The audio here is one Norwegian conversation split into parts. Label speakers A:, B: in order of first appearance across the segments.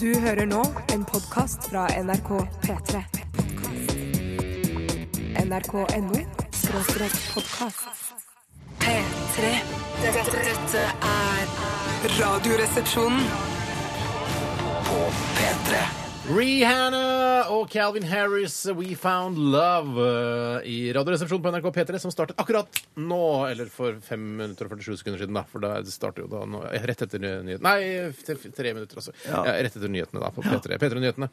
A: Du hører nå en podkast fra NRK P3. NRK.no skråstrek podkast. P3. Dette, dette er Radioresepsjonen.
B: Rihanna og Calvin Harris, We Found Love, eh, i Radioresepsjonen på NRK P3, som startet akkurat nå, eller for 5 minutter og 47 sekunder siden, da, for da- det starter jo da nå, eh, rett etter nyhetene. Nei, t- tre minutter, altså. Ja. rett etter nyhetene, da, på P3. P3-nyhetene.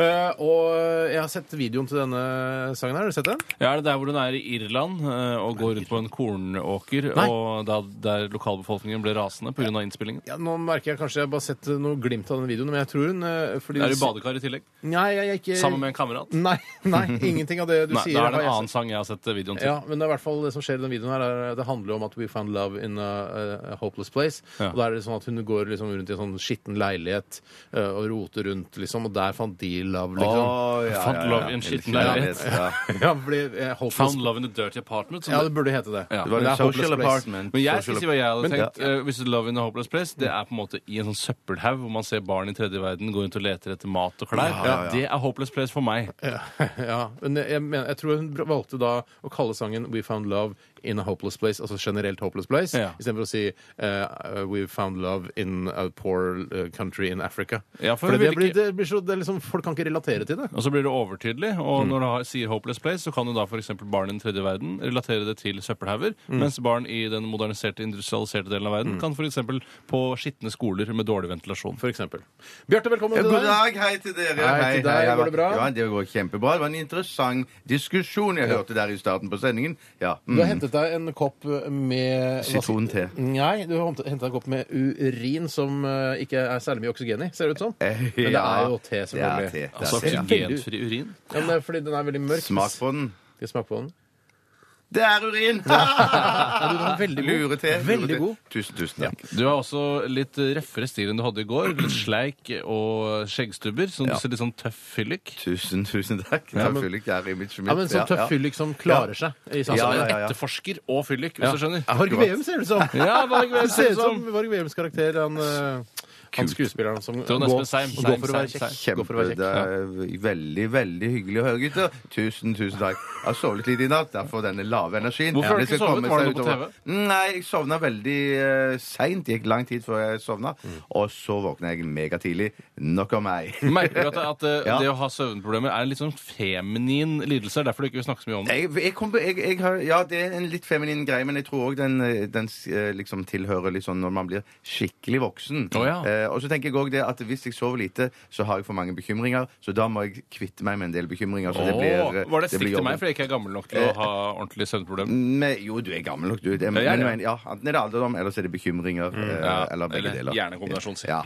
B: Eh, og jeg har sett videoen til denne sangen her. Har du sett den?
C: Ja, er det der hvor hun er i Irland eh, og går rundt på en kornåker,
B: Nei.
C: og da, der lokalbefolkningen ble rasende pga. innspillingen?
B: Ja, nå merker jeg kanskje jeg har bare sett noe glimt av den videoen, men jeg tror hun eh, fordi
C: Er du i badekar i tillegg?
B: Nei, jeg, jeg ikke
C: Sammen med en kamerat?
B: Nei, nei, ingenting av det du
C: Nei,
B: Eh, sier. har
C: da er
B: jeg
C: det en
B: sett.
C: annen sang jeg har sett eh, videoen til.
B: Ja, men det er i hvert fall det som skjer i den videoen her, er, det handler jo om at we found love in a, a hopeless place.
C: Ja.
B: Og da er det sånn at hun går liksom rundt i en sånn skitten leilighet eh, og roter rundt, liksom, og der fant de love, liksom.
C: Ah. Fant love i en skitten leilighet.
D: Ja.
B: Ja, fordi eh, hopeless...
C: Found Love in a Dirty Apartment. som
B: Ja,
C: det-
B: det burde hete det.
C: Ja.
D: Det var
B: Men
D: en
B: hopeless
D: social
B: place.
D: apartment.
C: men jeg skal
D: Social
C: si hva jeg hadde
B: Men- Mm.
C: tenkt. eh, hvis Love in a Hopeless Place, det er på en måte i en sånn søppelhaug hvor man ser barn i tredje verden gå rundt og leter etter mat og klær.
D: ja, ja.
C: Det er Hopeless Place for meg.
B: Ja, men jeg, mener, jeg tror hun br- valgte da å kalle sangen We Found Love in a Hopeless Place, altså generelt Hopeless Place,
C: Ja.
B: istedenfor å si eh, We Found Love in a Poor eh, Country in Africa.
C: Ja, for
B: Fordi
C: hun
B: det
C: vil
B: blir, det blir så, det er liksom, folk kan ikke relatere til det.
C: Og så blir det overtydelig, og når du har, sier Hopeless Place, så kan jo da f.eks. barn i den tredje verden relatere det til søppelhauger, mens barn i den moderniserte, industrialiserte delen av verden kan f.eks. på skitne skoler med dårlig ventilasjon.
B: For eksempel. Bjarte, velkommen
D: Ja,
B: til
D: God
B: deg.
D: dag, hei til dere.
B: Hei til deg, går det bra?
D: Ja, det går kjempebra. Det var en interessant diskusjon jeg hørte der i starten på sendingen. Ja,
B: Du har
D: mm.
B: hentet deg en kopp med hva-
D: Sitronte.
B: Nei, du har hentet deg en kopp med urin som eh, ikke er særlig mye oksygen i, ser det ut som.
D: Eh,
B: Men det er
D: ja.
B: jo te,
D: Det er te.
B: selvfølgelig.
D: Det
C: Altså
D: er te, ja.
C: oksygenfri urin.
B: Ja, men det er fordi den er veldig mørk.
D: Smak på den.
B: Skal jeg smake på den?
D: Det er urin!
B: Ja, du, den er veldig god.
D: Ah, Lure te.
B: Veldig
D: lure te.
B: god.
D: Tusen, tusen takk.
C: Du har også litt røffere stil enn du hadde i går. Litt sleik og skjeggstubber, så du
D: Ja.
C: ser litt sånn tøff fyllik.
D: Tusen, tusen takk.
B: Ja, men-
D: Selvfølgelig er imaget mitt.
B: Ja, men sånn tøff fyllik som klarer seg i
C: Altså
D: Ja,
B: samfunnet.
D: ja, ja, ja.
C: en etterforsker og fyllik, hvis du skjønner.
B: Varg
D: Akkurat.
B: Veum ser det ut som.
C: Ja, Varg Veum
B: Det ser ut
C: ser det
B: som Varg Veums karakter, han, eh, han skuespilleren som går,
C: Trond Espen Seim,
B: går for å være
C: Seim,
B: kjekk.
C: Seim.
B: Går for å være
D: Kjempe, det
B: kjekk.
D: er veldig, veldig hyggelig å høre, gutter. Tusen, tusen takk. Jeg har sovet litt i natt, derfor denne lave energien.
C: Hvorfor har du
D: Det skal
C: ikke sovet?
D: komme
C: Var det
D: seg
C: noe på
D: utover. Nei, jeg sovna veldig uh, seint. Det gikk lang tid før jeg sovna.
C: Mm.
D: Og så våkna jeg megatidlig. Nok om meg.
C: Merker du at, at eh,
D: Ja.
C: det å ha søvnproblemer er en litt sånn feminin lidelse? Det er derfor du ikke vil snakke så mye om det.
D: Jeg, jeg kom, på- jeg, jeg har, ja, det er en litt feminin greie, men jeg tror òg den, eh, den eh, liksom tilhører litt sånn når man blir skikkelig voksen.
C: Å, ja.
D: eh, og så tenker jeg òg det at hvis jeg sover lite, så har jeg for mange bekymringer, så da må jeg kvitte meg med en del bekymringer. Så det
C: Åh,
D: blir, eh,
C: var det
D: blir
C: stikk til meg
D: jobben.
C: fordi jeg ikke er gammel nok til å ha ordentlig søvnproblem?
D: Men, jo, du er gammel nok, du. Det, men,
C: jeg er det. Mm,
D: men, ja, enten er det alderdom, eller så er det bekymringer. eh,
C: Ja,
D: eller begge
C: eller
D: deler.
C: hjernekombinasjon, Mm. si.
D: Ja.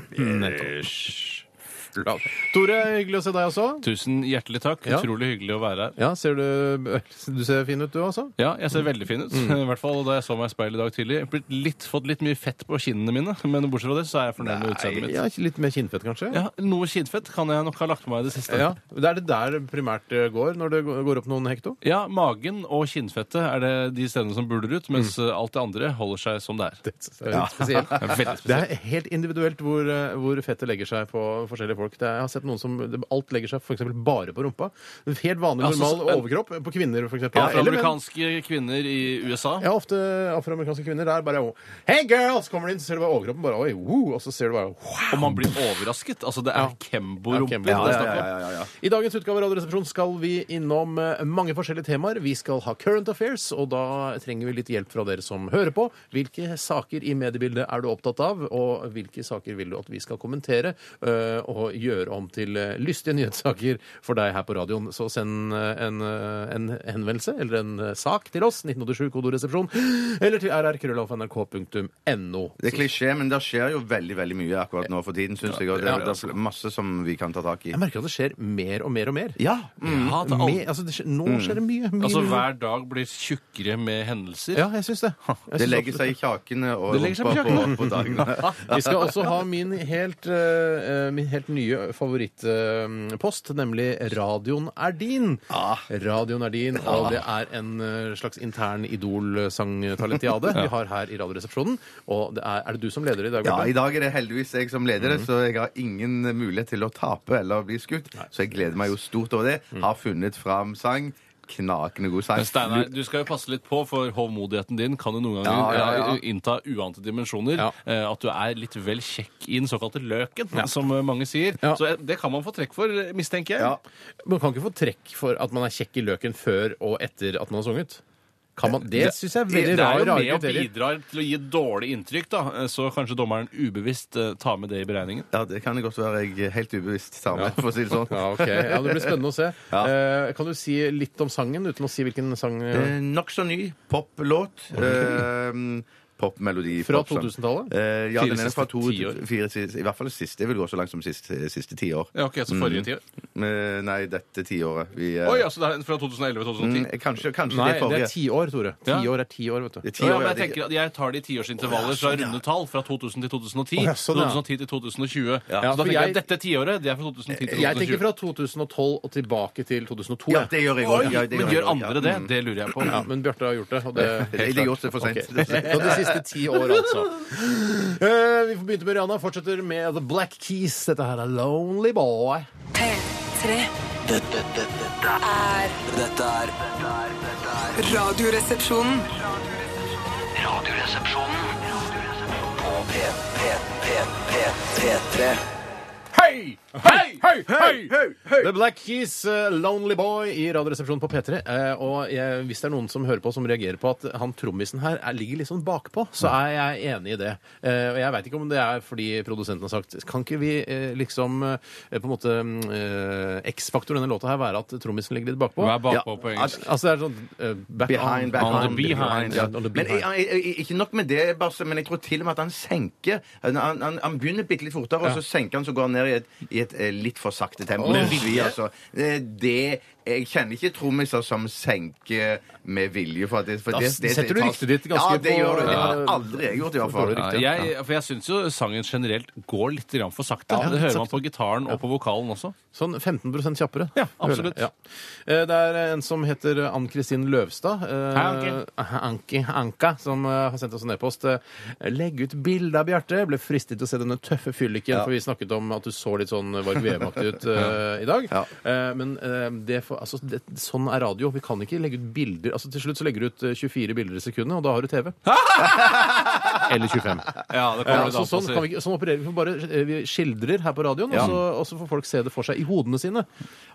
B: Tore, hyggelig å se deg også.
C: Tusen hjertelig takk.
B: Ja.
C: Utrolig hyggelig å være her.
B: Ja, ser du, du ser fin ut du altså. også.
C: Ja, jeg ser veldig fin ut. I hvert fall da jeg så meg i speilet i dag tidlig. Jeg har blitt litt, fått litt mye fett på kinnene mine, men bortsett fra det så er jeg fornøyd med utseendet mitt.
B: Ja, litt mer kinnfett, kanskje?
C: Ja, Noe kinnfett kan jeg nok ha lagt på meg i det siste.
B: Ja, Det er det der primært det går, når det går opp noen hekto?
C: Ja, magen og kinnfettet er det de stedene som buler ut, mens eh, alt det andre holder seg som det er.
B: Det er litt spesielt.
C: Det er veldig
B: Det
C: spesielt.
B: er helt individuelt hvor, eh, hvor fettet legger seg på forskjellige folk. Det er, jeg har sett noen som det- Alt legger seg for eksempel bare på rumpa. En Helt vanlig,
C: Altså,
B: normal
C: så- en-
B: overkropp på kvinner, for eksempel. Eller menn.
C: Afroamerikanske kvinner i USA.
B: Ja, ofte afroamerikanske kvinner. Der bare oh, Hey girls! Kommer de inn, så ser du bare overkroppen bare oi, woo, og så ser du bare wow.
C: Og man blir overrasket. Altså, det er Kembo-rumpe.
B: Kembo, ja,
C: det er
B: ja,
C: snakk om.
B: ja, I dagens utgave av Radioresepsjonen skal vi innom eh, mange forskjellige temaer. Vi skal ha current affairs, og da trenger vi litt hjelp fra dere som hører på. Hvilke saker i mediebildet er du opptatt av, og hvilke saker vil du at vi skal kommentere eh, og gjøre om til eh, lystige nyhetssaker for deg her på radioen? Så send eh, en, eh, en henvendelse eller en eh, sak til oss, 1987 kodoresepsjon, eller til rrkrøllalfnrk.no.
D: Det er klisjé, men det skjer jo veldig veldig mye akkurat nå for tiden, syns jeg. Og det,
B: Ja,
D: det er masse som vi kan ta tak i.
B: Jeg merker at det skjer mer og mer og mer.
D: Ja. Mm.
C: Ja, at alt-
B: Mer- altså, det skjer, nå skjer det mye. mye,
C: Altså,
B: mye.
C: hver dag blir tjukkere med hendelser.
B: Ja, jeg syns det. Jeg
D: Det
B: syns
D: legger
B: absolutt
D: seg i kjakene og
C: Det legger seg
D: rumpa
C: på
D: på, på dagene.
B: Vi skal også ha min helt, eh, min helt nye favorittpost, nemlig Radioen er din.
C: Ah.
B: Radioen er din, og det er en eh, slags intern Idol-sangtalentiade vi har her i Radioresepsjonen. Og det er, er det du som leder i dag,
D: Ja,
B: Bjarte?
D: I dag er det heldigvis jeg som leder
C: Mhm.
D: det, så jeg har ingen mulighet til å tape eller bli skutt. Så jeg gleder meg jo stort over det. Har funnet fram sang. Knakende god sang.
C: Mm. Men Steinar, du skal jo passe litt på, for hovmodigheten din kan jo noen ganger
D: Ja, ja, ja.
C: eh, innta uante dimensjoner.
B: Ja.
C: eh, At du er litt vel kjekk i den såkalte løken, som eh, mange sier.
B: Ja.
C: Så eh, det kan man få trekk for, eh, mistenker jeg.
D: Ja.
B: Man kan ikke få trekk for at man er kjekk i løken før og etter at man har sunget. Kan man? Det syns jeg er
C: Det
B: veldig
C: er
B: rar,
C: jo
B: rare
C: med og
B: kriterier.
C: bidrar til å gi dårlig inntrykk, da. eh, Så kanskje dommeren ubevisst eh, tar med det i beregningen.
D: Ja, det kan det godt være jeg helt ubevisst tar med, for å si det sånn.
B: Ja, ok. Ja, det blir spennende å se.
D: Ja.
B: Eh, kan du si litt om sangen uten å si hvilken sang eh,
D: Eh, Nokså ny poplåt. Eh, Popmelodi.
B: fra
D: popsang.
B: 2000-tallet?
D: Eh, ja,
C: Fire
D: den er
C: siste
D: fra to
C: tiår.
D: til fire siste, I hvert fall siste. Jeg vil gå så langt som siste, siste tiår.
C: Ja, ok, så
B: Mm.
C: forrige tiår.
D: Eh, nei, dette tiåret. Vi, eh,
C: Oi, altså det er fra 2011-2010.
D: mm, kanskje kanskje
B: Nei,
D: det
B: det
D: forrige.
B: er tiår, Tore.
C: Ja.
B: Tiår er tiår, vet du.
D: Det er
C: Ja,
D: tiår,
C: men
D: ja,
C: jeg tenker at jeg tar det i tiårsintervaller fra runde tall, fra 2000 til 2010.
B: Å, ja, sånn, ja.
C: 2010 til
B: Ja,
C: 2020. Så da
B: for
C: tenker jeg
B: jeg- Eh,
C: at dette tiåret det er fra 2010 til 2020.
B: Jeg tenker fra 2012 og tilbake til 2002.
D: Ja,
B: jeg.
D: det gjør jeg
C: Oi,
D: òg. Ja, det
C: men
D: jeg
C: gjør
D: også,
C: andre
D: ja.
C: det?
D: Mm.
C: Det lurer jeg på.
B: Ja, men Bjarte har gjort det. Og det
D: Jeg har gjort det for sent.
B: Ok. Så de siste ti år, altså. Eh, vi får begynne med Rihanna. Fortsetter med The Black Keys. Dette her er Lonely Boy.
A: P3
E: Dette, dette, dette,
A: er
E: dette er dette er- dette er
A: Radioresepsjonen.
E: Radioresepsjonen Radioresepsjonen. på P, P, P, P, P3.
C: Hei! Hei! Hei!
B: The Black Keys, eh, Lonely Boy i Radioresepsjonen på P3. Eh, og jeg, hvis det er noen som hører på som reagerer på at han trommisen her er, ligger litt sånn bakpå, så er jeg enig i det. Eh, og jeg veit ikke om det er fordi produsenten har sagt Kan ikke vi eh, liksom eh, på en måte eh, X-faktor denne låta her være at trommisen ligger litt bakpå?
C: Hva er bakpå på
D: Ja,
C: engelsk?
B: Altså det er sånn eh, back
D: Behind,
B: on.
D: back
C: On the
D: on,
C: behind.
D: ja.
B: On the
D: Men
B: behind.
D: jeg- jeg- jeg- ikke nok med det, Basse, men jeg tror til og med at han senker Han, han, han- han begynner bitte litt fortere, og så senker han så går han ned i et, i et eh, litt for sakte tempo.
B: Med
D: Det svir, altså. Eh, Det Jeg kjenner ikke trommiser som senker med vilje. For at det, for
B: Da
D: det, det,
B: setter du
D: det tas-
B: ryktet ditt ganske
D: Ja, det
B: på-
D: gjør du. Det
B: Ja.
D: har aldri jeg gjort, i hvert fall.
B: Dårlig rykte.
C: Ja, jeg, for jeg syns jo sangen generelt går litt grann for sakte.
B: Ja,
C: det hører man
B: sakte.
C: på gitaren og på vokalen også.
B: Sånn 15 kjappere.
C: Ja, absolutt.
B: Hører jeg, ja. Eh, Det er en som heter Ann-Kristin Løvstad. eh,
C: Hei,
B: Anki. Anka, som eh, har sendt oss en e-post. eh, Legg ut bilde av Bjarte. Ble fristet til å se denne tøffe fylliken, for vi snakket om at du så litt sånn Varg Veum-aktig ut eh, i dag.
D: Ja.
B: Eh, Men eh, det, får- altså, det, sånn er radio. Vi kan ikke legge ut bilder. Altså, til slutt så legger du ut eh, 24 bilder i sekundet, og da har du TV. Eller 25.
C: Ja, det
B: Ja,
C: kommer
B: så
C: det
B: sånn, kan vi, ikke- sånn opererer vi. Vi bare eh, vi skildrer her på radioen, og, så, og så får folk se det for seg i hodene sine.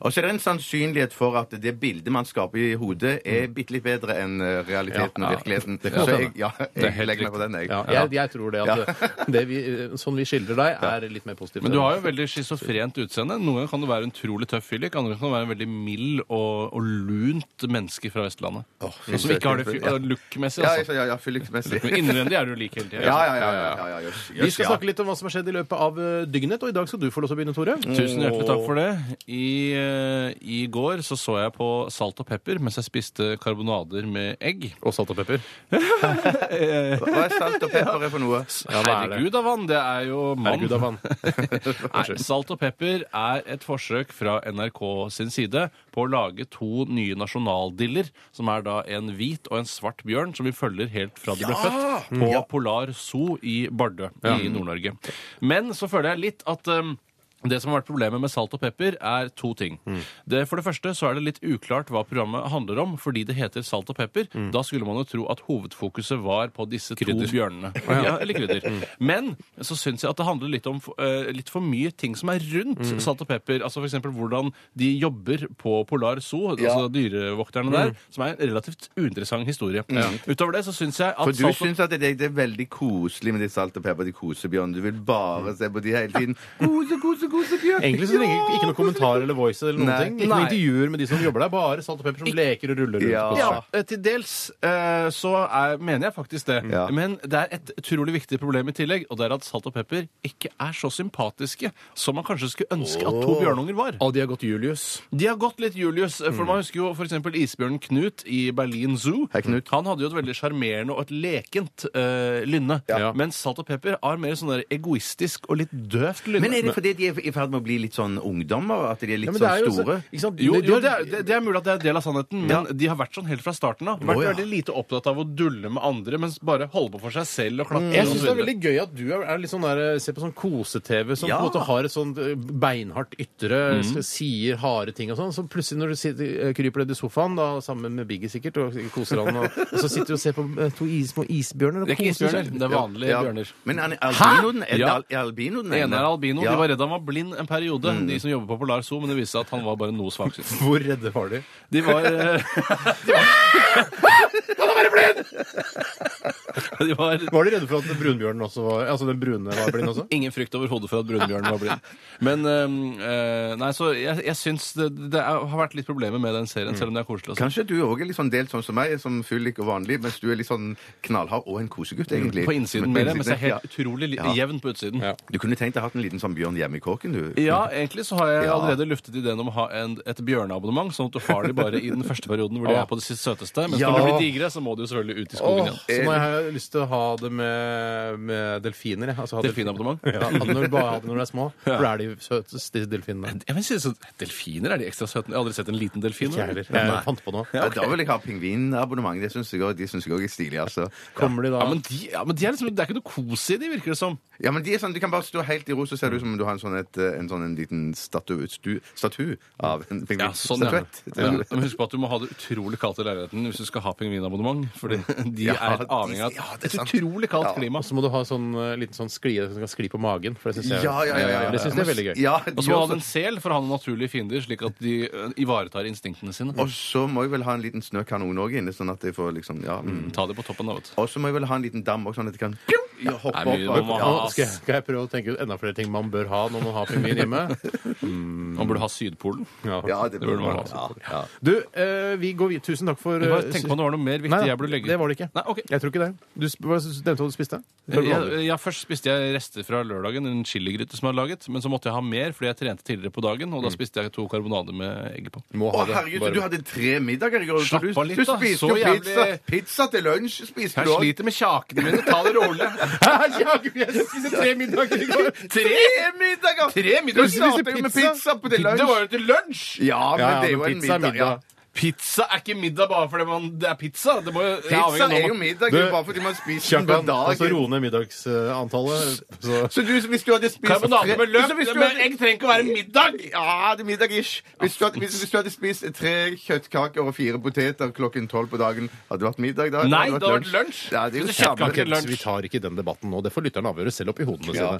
D: Og så er det en sannsynlighet for at det bildet man skaper i hodet, er bitte litt bedre enn eh, realiteten
B: Mm. Ja,
D: og
B: ja.
D: virkeligheten.
B: Det kan
D: Så jeg,
B: hende.
D: ja,
C: er
D: jeg
C: helt
D: legger meg på den, jeg.
B: Ja, jeg, jeg tror det at det vi, sånn vi skildrer deg, er litt mer positivt.
C: Men du har jo veldig schizofrent utseende. Noen ganger kan du være en utrolig tøff fyllik, andre ganger kan du være en veldig mild og, og lunt menneske fra Vestlandet. Og som ikke har det fy-
D: Ja.
C: look-messig,
D: Ja, jeg-
C: altså.
D: ja, ja, fyllingsmessig.
C: Men innvendig er du lik hele tida.
D: Ja, ja, ja. ja, ja, ja, jøss,
B: Vi
D: jøss,
B: skal
D: ja.
B: snakke litt om hva som har skjedd i løpet av eh, døgnet, og i dag skal du få lov til å begynne, Tore.
C: Tusen hjertelig takk for det. I, eh, I går så så jeg på Salt og pepper mens jeg spiste karbonader med egg.
B: Og salt og pepper.
D: Hva er salt og pepper er for noe?
B: Ja, hva er det?
C: Herregud av han, det er jo mann.
B: Herregud, av han.
C: Nei, Salt og pepper er et forsøk fra NRK sin side på å lage to nye nasjonaldiller, som er da en hvit og en svart bjørn, som vi følger helt fra de ble født,
B: Mm.
C: på Polar Zoo i Bardø i Nord-Norge. Men så føler jeg litt at um, det som har vært problemet med Salt og pepper, er to ting.
D: Mm.
C: Det, for det første så er det litt uklart hva programmet handler om, fordi det heter Salt og pepper.
D: Mm.
C: Da skulle man jo tro at hovedfokuset var på disse to bjørnene. Ja, eller krydder.
D: Mm.
C: Men så syns jeg at det handler litt om eh, litt for mye ting som er rundt
D: Mm.
C: Salt og pepper. Altså for eksempel hvordan de jobber på Polar Zoo, altså dyrevokterne der,
D: Mm.
C: som er en relativt uinteressant historie. Utover det så syns jeg at
D: For du
C: Salt og
D: syns at det, det er veldig koselig med de salt og pepper, de kosebjørn. Du vil bare se på de hele tiden.
C: Mm.
D: Kose, kose, kosebjørn!
B: Egentlig så trenger vi ikke noen kommentar eller voice eller noen
D: Nei.
B: ting. Ikke noen
C: Nei.
B: intervjuer med de som jobber der. Bare salt og pepper som leker og ruller rundt.
D: Ja.
B: på
C: Ja,
B: seg.
C: eh, til dels eh, så er, mener jeg faktisk det.
D: Ja.
C: Men det er et utrolig viktig problem i tillegg, og det er at salt og pepper ikke er så sympatiske som man kanskje skulle ønske at to bjørnunger var.
B: Og de har gått Julius.
C: De har gått litt Julius, eh, for man husker jo f.eks. isbjørnen Knut i Berlin Zoo.
D: Mm. Hei, Knut.
C: Han hadde jo et veldig sjarmerende og et lekent eh, lynne.
B: Ja.
C: Men salt og pepper er mer sånn der egoistisk og litt døvt lynne.
D: Men er det fordi de er i ferd med å bli litt sånn ungdommer? At de er litt
B: Ja, men det er
D: sånn
B: jo
D: store?
B: ikke sant?
C: Jo,
B: Det-
C: jo det, er, det er mulig at det er en del av sannheten, men de har vært sånn helt fra starten av. Vært
D: Å, ja.
C: veldig lite opptatt av å dulle med andre, mens bare holde på for seg selv og
D: Mm.
C: klappe.
B: Jeg
C: og så
B: syns det er
C: videre.
B: veldig gøy at du er, er litt sånn der, ser på sånn kose-TV som
D: Ja.
B: på en måte har et sånn eh, beinhardt ytre,
C: Mm.
B: s- sier harde ting og sånn. Så plutselig når du sitter, eh, kryper ned i sofaen, da, sammen med Biggie sikkert, og koser han, og, og så sitter du og ser på eh, to is, små isbjørner og
C: Det er ikke
B: koser seg.
C: isbjørner, det er vanlige
D: Ja.
C: bjørner.
D: Men er det albinoen er det
C: Ja.
D: al- er albinoen?
C: Den ene er albino.
D: Ja. Mm.
C: De var redd han var blind en periode, de som jobber på Polar Zoo, men det viste seg at han var bare noe svaksynt.
B: Hvor redde var de?
C: De var eh, De var
B: Var de redde for at brunbjørnen også var Altså den brune var blind også?
C: Ingen frykt overhodet for at brunbjørnen var blind. Men ehm, eh, Nei, så jeg, jeg syns det, det er, har vært litt problemer med den serien, selv om det er koselig. og sånn.
D: Kanskje du òg er litt sånn delt sånn som meg, som fyllik og vanlig, mens du er litt sånn knallhard og en kosegutt, egentlig.
C: Mm, På innsiden
D: Men
C: mer, mens jeg er
D: ja.
C: helt utrolig li-
D: Ja.
C: jevn på utsiden.
B: Ja.
D: Du kunne tenkt deg å ha hatt en liten sånn bjørn hjemme i kåken, du.
C: Ja, egentlig så har jeg
D: Ja.
C: allerede luftet ideen om å ha en, et bjørneabonnement, sånn at du har de bare i den første perioden hvor de er på det siste søteste. Mens
D: Ja.
C: når de blir digre, så må de jo selvfølgelig ut i skogen
B: Åh,
C: igjen.
B: så nå har jeg lyst til å ha det med, med delfiner. jeg. Altså, ha
C: Delfinabonnement?
B: delfin- Ja, når, bare ha det når de er små. For da er de søteste de delfinene.
C: Jeg vil si så, Delfiner, er de ekstra søte? Jeg har aldri sett en liten delfin.
B: Ikke jeg
C: eller?
B: heller. Jeg fant på noe.
D: Ja, Da vil jeg ha pingvinabonnement. Det syns jeg òg de synes jeg også er stilig. altså.
B: Kommer de da
C: Ja, men, de, ja, men de er liksom, Det er ikke noe kos i de, virker det som.
D: Ja, men de er sånn, Du kan bare stå helt i ro, så ser det ut som om du har en sånn, et, en sånn en liten statu, stu, statu av en pingvin.
C: Ja, sånn, ja.
D: Statuett.
C: Ja. Men husk på at du må ha det utrolig kaldt i leiligheten hvis du skal ha pingvinabonnement. Fordi de
D: Ja,
C: er avhengig av
D: de- ja, det
C: et
D: er sant.
C: utrolig kaldt klima.
B: Og så må du ha sånn eh, liten sånn sklie som kan skli på magen. For det syns
D: Ja,
B: jeg,
D: ja, ja, ja, ja.
B: Det synes jeg er veldig gøy.
D: Ja,
C: Og så må du ha en sel for å ha noen naturlige fiender, slik at de eh, ivaretar instinktene sine.
D: Og så må jeg vel ha en liten snøkanon òg inne, sånn at jeg får liksom ja. mm.
C: Ta det på toppen av et
D: Og så må jeg vel ha en liten dam også, sånn at jeg kan pju, ja,
C: Nei,
D: hoppe
C: men
D: opp.
C: du må
D: og-
C: ha-
D: Ja.
B: Nå skal, jeg, skal jeg prøve å tenke ut enda flere ting man bør ha når man har pingvin hjemme?
D: Mm.
C: Man burde ha Sydpolen.
D: Ja, det
C: burde man ha. altså.
D: Ja.
B: Du, eh, vi går videre. Tusen takk for
C: Jeg
B: eh,
C: bare tenker Øh, på om det var noe mer viktig
B: Nei,
C: jeg burde legge
B: Det var det ikke.
C: Nei, ok.
B: Jeg tror ikke det. Du sp- hva s- nevnte hva du spiste. Det var
C: Ja,
B: vanlig.
C: ja, Først spiste jeg rester fra lørdagen, en chiligryte som jeg hadde laget. Men så måtte jeg ha mer, fordi jeg trente tidligere på dagen. Og da
D: Mm.
C: spiste jeg to karbonader med egg på.
B: Må
D: Å,
B: ha det.
D: herregud,
B: Bare-
D: så du hadde tre middager i går. så
C: Slapp
D: Du,
C: av litt,
D: du
C: da.
D: spiste
C: Så
D: jo
C: jævlig-
D: pizza. Pizza til lunsj spiste du
C: Jeg
D: òg.
C: sliter med kjakene mine. Ta det rolig.
B: Jeg spiste tre middager i går.
D: Tre middager!
C: Tre middager.
D: Du startet jo med
B: Pizza.
D: pizza på til lunsj.
C: Det var jo til lunsj!
D: Ja, men
B: Ja, ja,
D: det er jo
B: men
D: en
B: pizza er
D: middag.
B: middag.
C: Pizza er ikke middag bare fordi man, det er pizza. Det må jo, det
D: Ja.
C: avhengig
D: Pizza
C: av når
D: er jo
C: man-
D: middag,
B: Du,
D: det er bare fordi man spiser den på
B: Kjakan, altså
D: dagen.
B: roe ned middagsantallet. Så.
D: Så du, hvis du hadde spist
C: Karbonade med løk
D: Så hvis du
C: men
D: hadde-
C: egg trenger ikke å være middag!
D: Ja, det er middag ish. Hvis du, hadde, hvis, hvis du hadde spist tre kjøttkaker og fire poteter klokken tolv på dagen, hadde det vært middag da?
C: Nei, det
D: Hadde
C: hadde vært lunsj.
D: Ja, det er jo
C: Spiste kjøttkaker.
D: samme.
B: Ok, så Vi tar ikke den debatten nå. Det får lytterne avgjøre selv oppi hodene
D: Ja.
B: sine.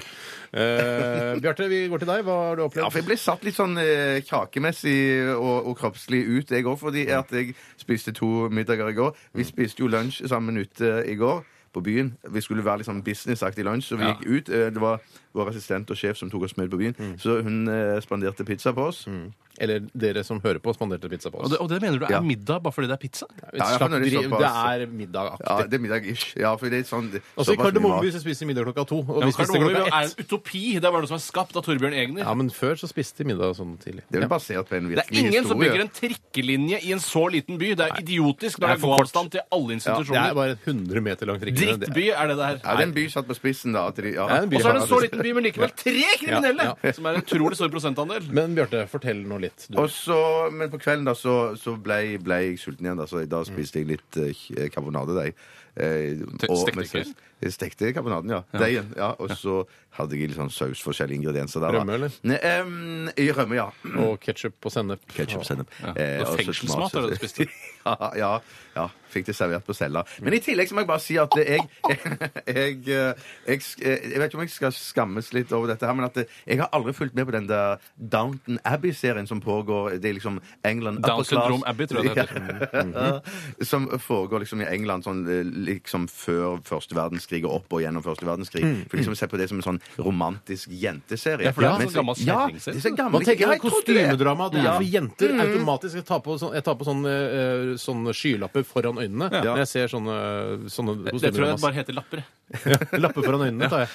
B: Eh, Bjarte, vi går til deg. Hva har du
D: Ja,
B: opplevd?
D: for jeg ble satt litt sånn eh, kakemessig og, og kroppslig ut, jeg òg, fordi at jeg spiste to middager i går. Vi spiste jo lunsj sammen ute i går. På byen. Vi skulle være litt sånn businessaktig lunsj, så vi
C: Ja.
D: gikk ut. Eh, Det var vår assistent og sjef som tok oss med på byen, så hun eh, spanderte pizza på oss.
B: Eller dere som hører på, spanderte pizza på
C: Og
B: oss.
C: det, og det mener du er
D: Ja.
C: middag bare fordi det er pizza?
B: Et
D: Ja, jeg
B: slags
D: fornøyer meg
B: driv-
D: såpass.
B: det er middagaktig.
D: sånn Ja, det er middag ish. Ja, for det er sånn
B: Altså, I
D: såpass mye mat.
B: Kardemommeby så spiser de middag klokka to. Og
C: Ja,
B: vi spiste
C: Kardemomme
B: klokka
C: er
B: ett.
C: en utopi. Det er bare noe som er skapt av Torbjørn Egner.
B: Ja, men før så spiste de middag sånn tidlig.
D: Det er vel basert på en
C: Det er
D: virkelig
C: ingen som bygger
D: historie.
C: en trikkelinje i en så liten by. Det er idiotisk
B: Det
C: når
B: er
C: det er
B: for kort.
C: gåavstand til alle
B: Ja, det er
C: institusjoner.
B: bare 100 meter lang trikkelinje. Det er-
C: Drittby er det der.
D: Ja, det er en by satt på spissen, da. At de, ja.
B: Ja, det er en by.
C: Og så er det en så liten by, men likevel tre kriminelle!
B: Ja, ja.
C: Som er en utrolig stor prosentandel.
B: Men Bjarte, fortell nå litt. Du.
D: Og så, men på kvelden da, så, så ble, ble jeg sulten igjen. Da, så da spiste jeg litt eh, karbonadedeig. Eh,
C: Te-
D: og-
C: stekte
D: med
C: ikke?
D: saus. Jeg Stekte karbonaden, ja. Deigen. ja. Og så hadde jeg litt sånn saus, forskjellige ingredienser der. da.
B: Rømme, eller?
D: Ne, em, i rømme, ja.
B: Og ketsjup og sennep.
D: Ketchup, sennep. Eh,
C: Det var fengselsmat er det du spiste.
D: ja, ja, ja. Fikk det servert på cella. Men i tillegg så må jeg bare si at jeg jeg, jeg, jeg, sk- eh, jeg vet ikke om jeg skal skammes litt over dette, her, men at eh, jeg har aldri fulgt med på den der Downton Abbey-serien som pågår. Det er liksom England upper
C: Down
D: class.
C: syndrom Abbey, tror jeg det heter.
D: som foregår liksom i England sånn, eh, liksom før første verdenskrig og opp og gjennom første verdenskrig. For liksom Se på det som en sånn romantisk jenteserie.
C: Mm, Ja, for det er en
D: Mens-
C: sånn gammel
D: ja,
C: kjerringserie.
D: det er sånn gammel-
B: Man tenker
D: Ja,
B: at
D: jeg trodde det. Mm.
B: kostymedrama det er for jenter. Automatisk jeg tar på, sånn, jeg tar på sånne, eh, sånne skylapper foran øynene når jeg ser sånne, sånne
C: Det tror jeg
B: kostymedrama.
C: bare heter lapper.
B: Lapper foran øynene tar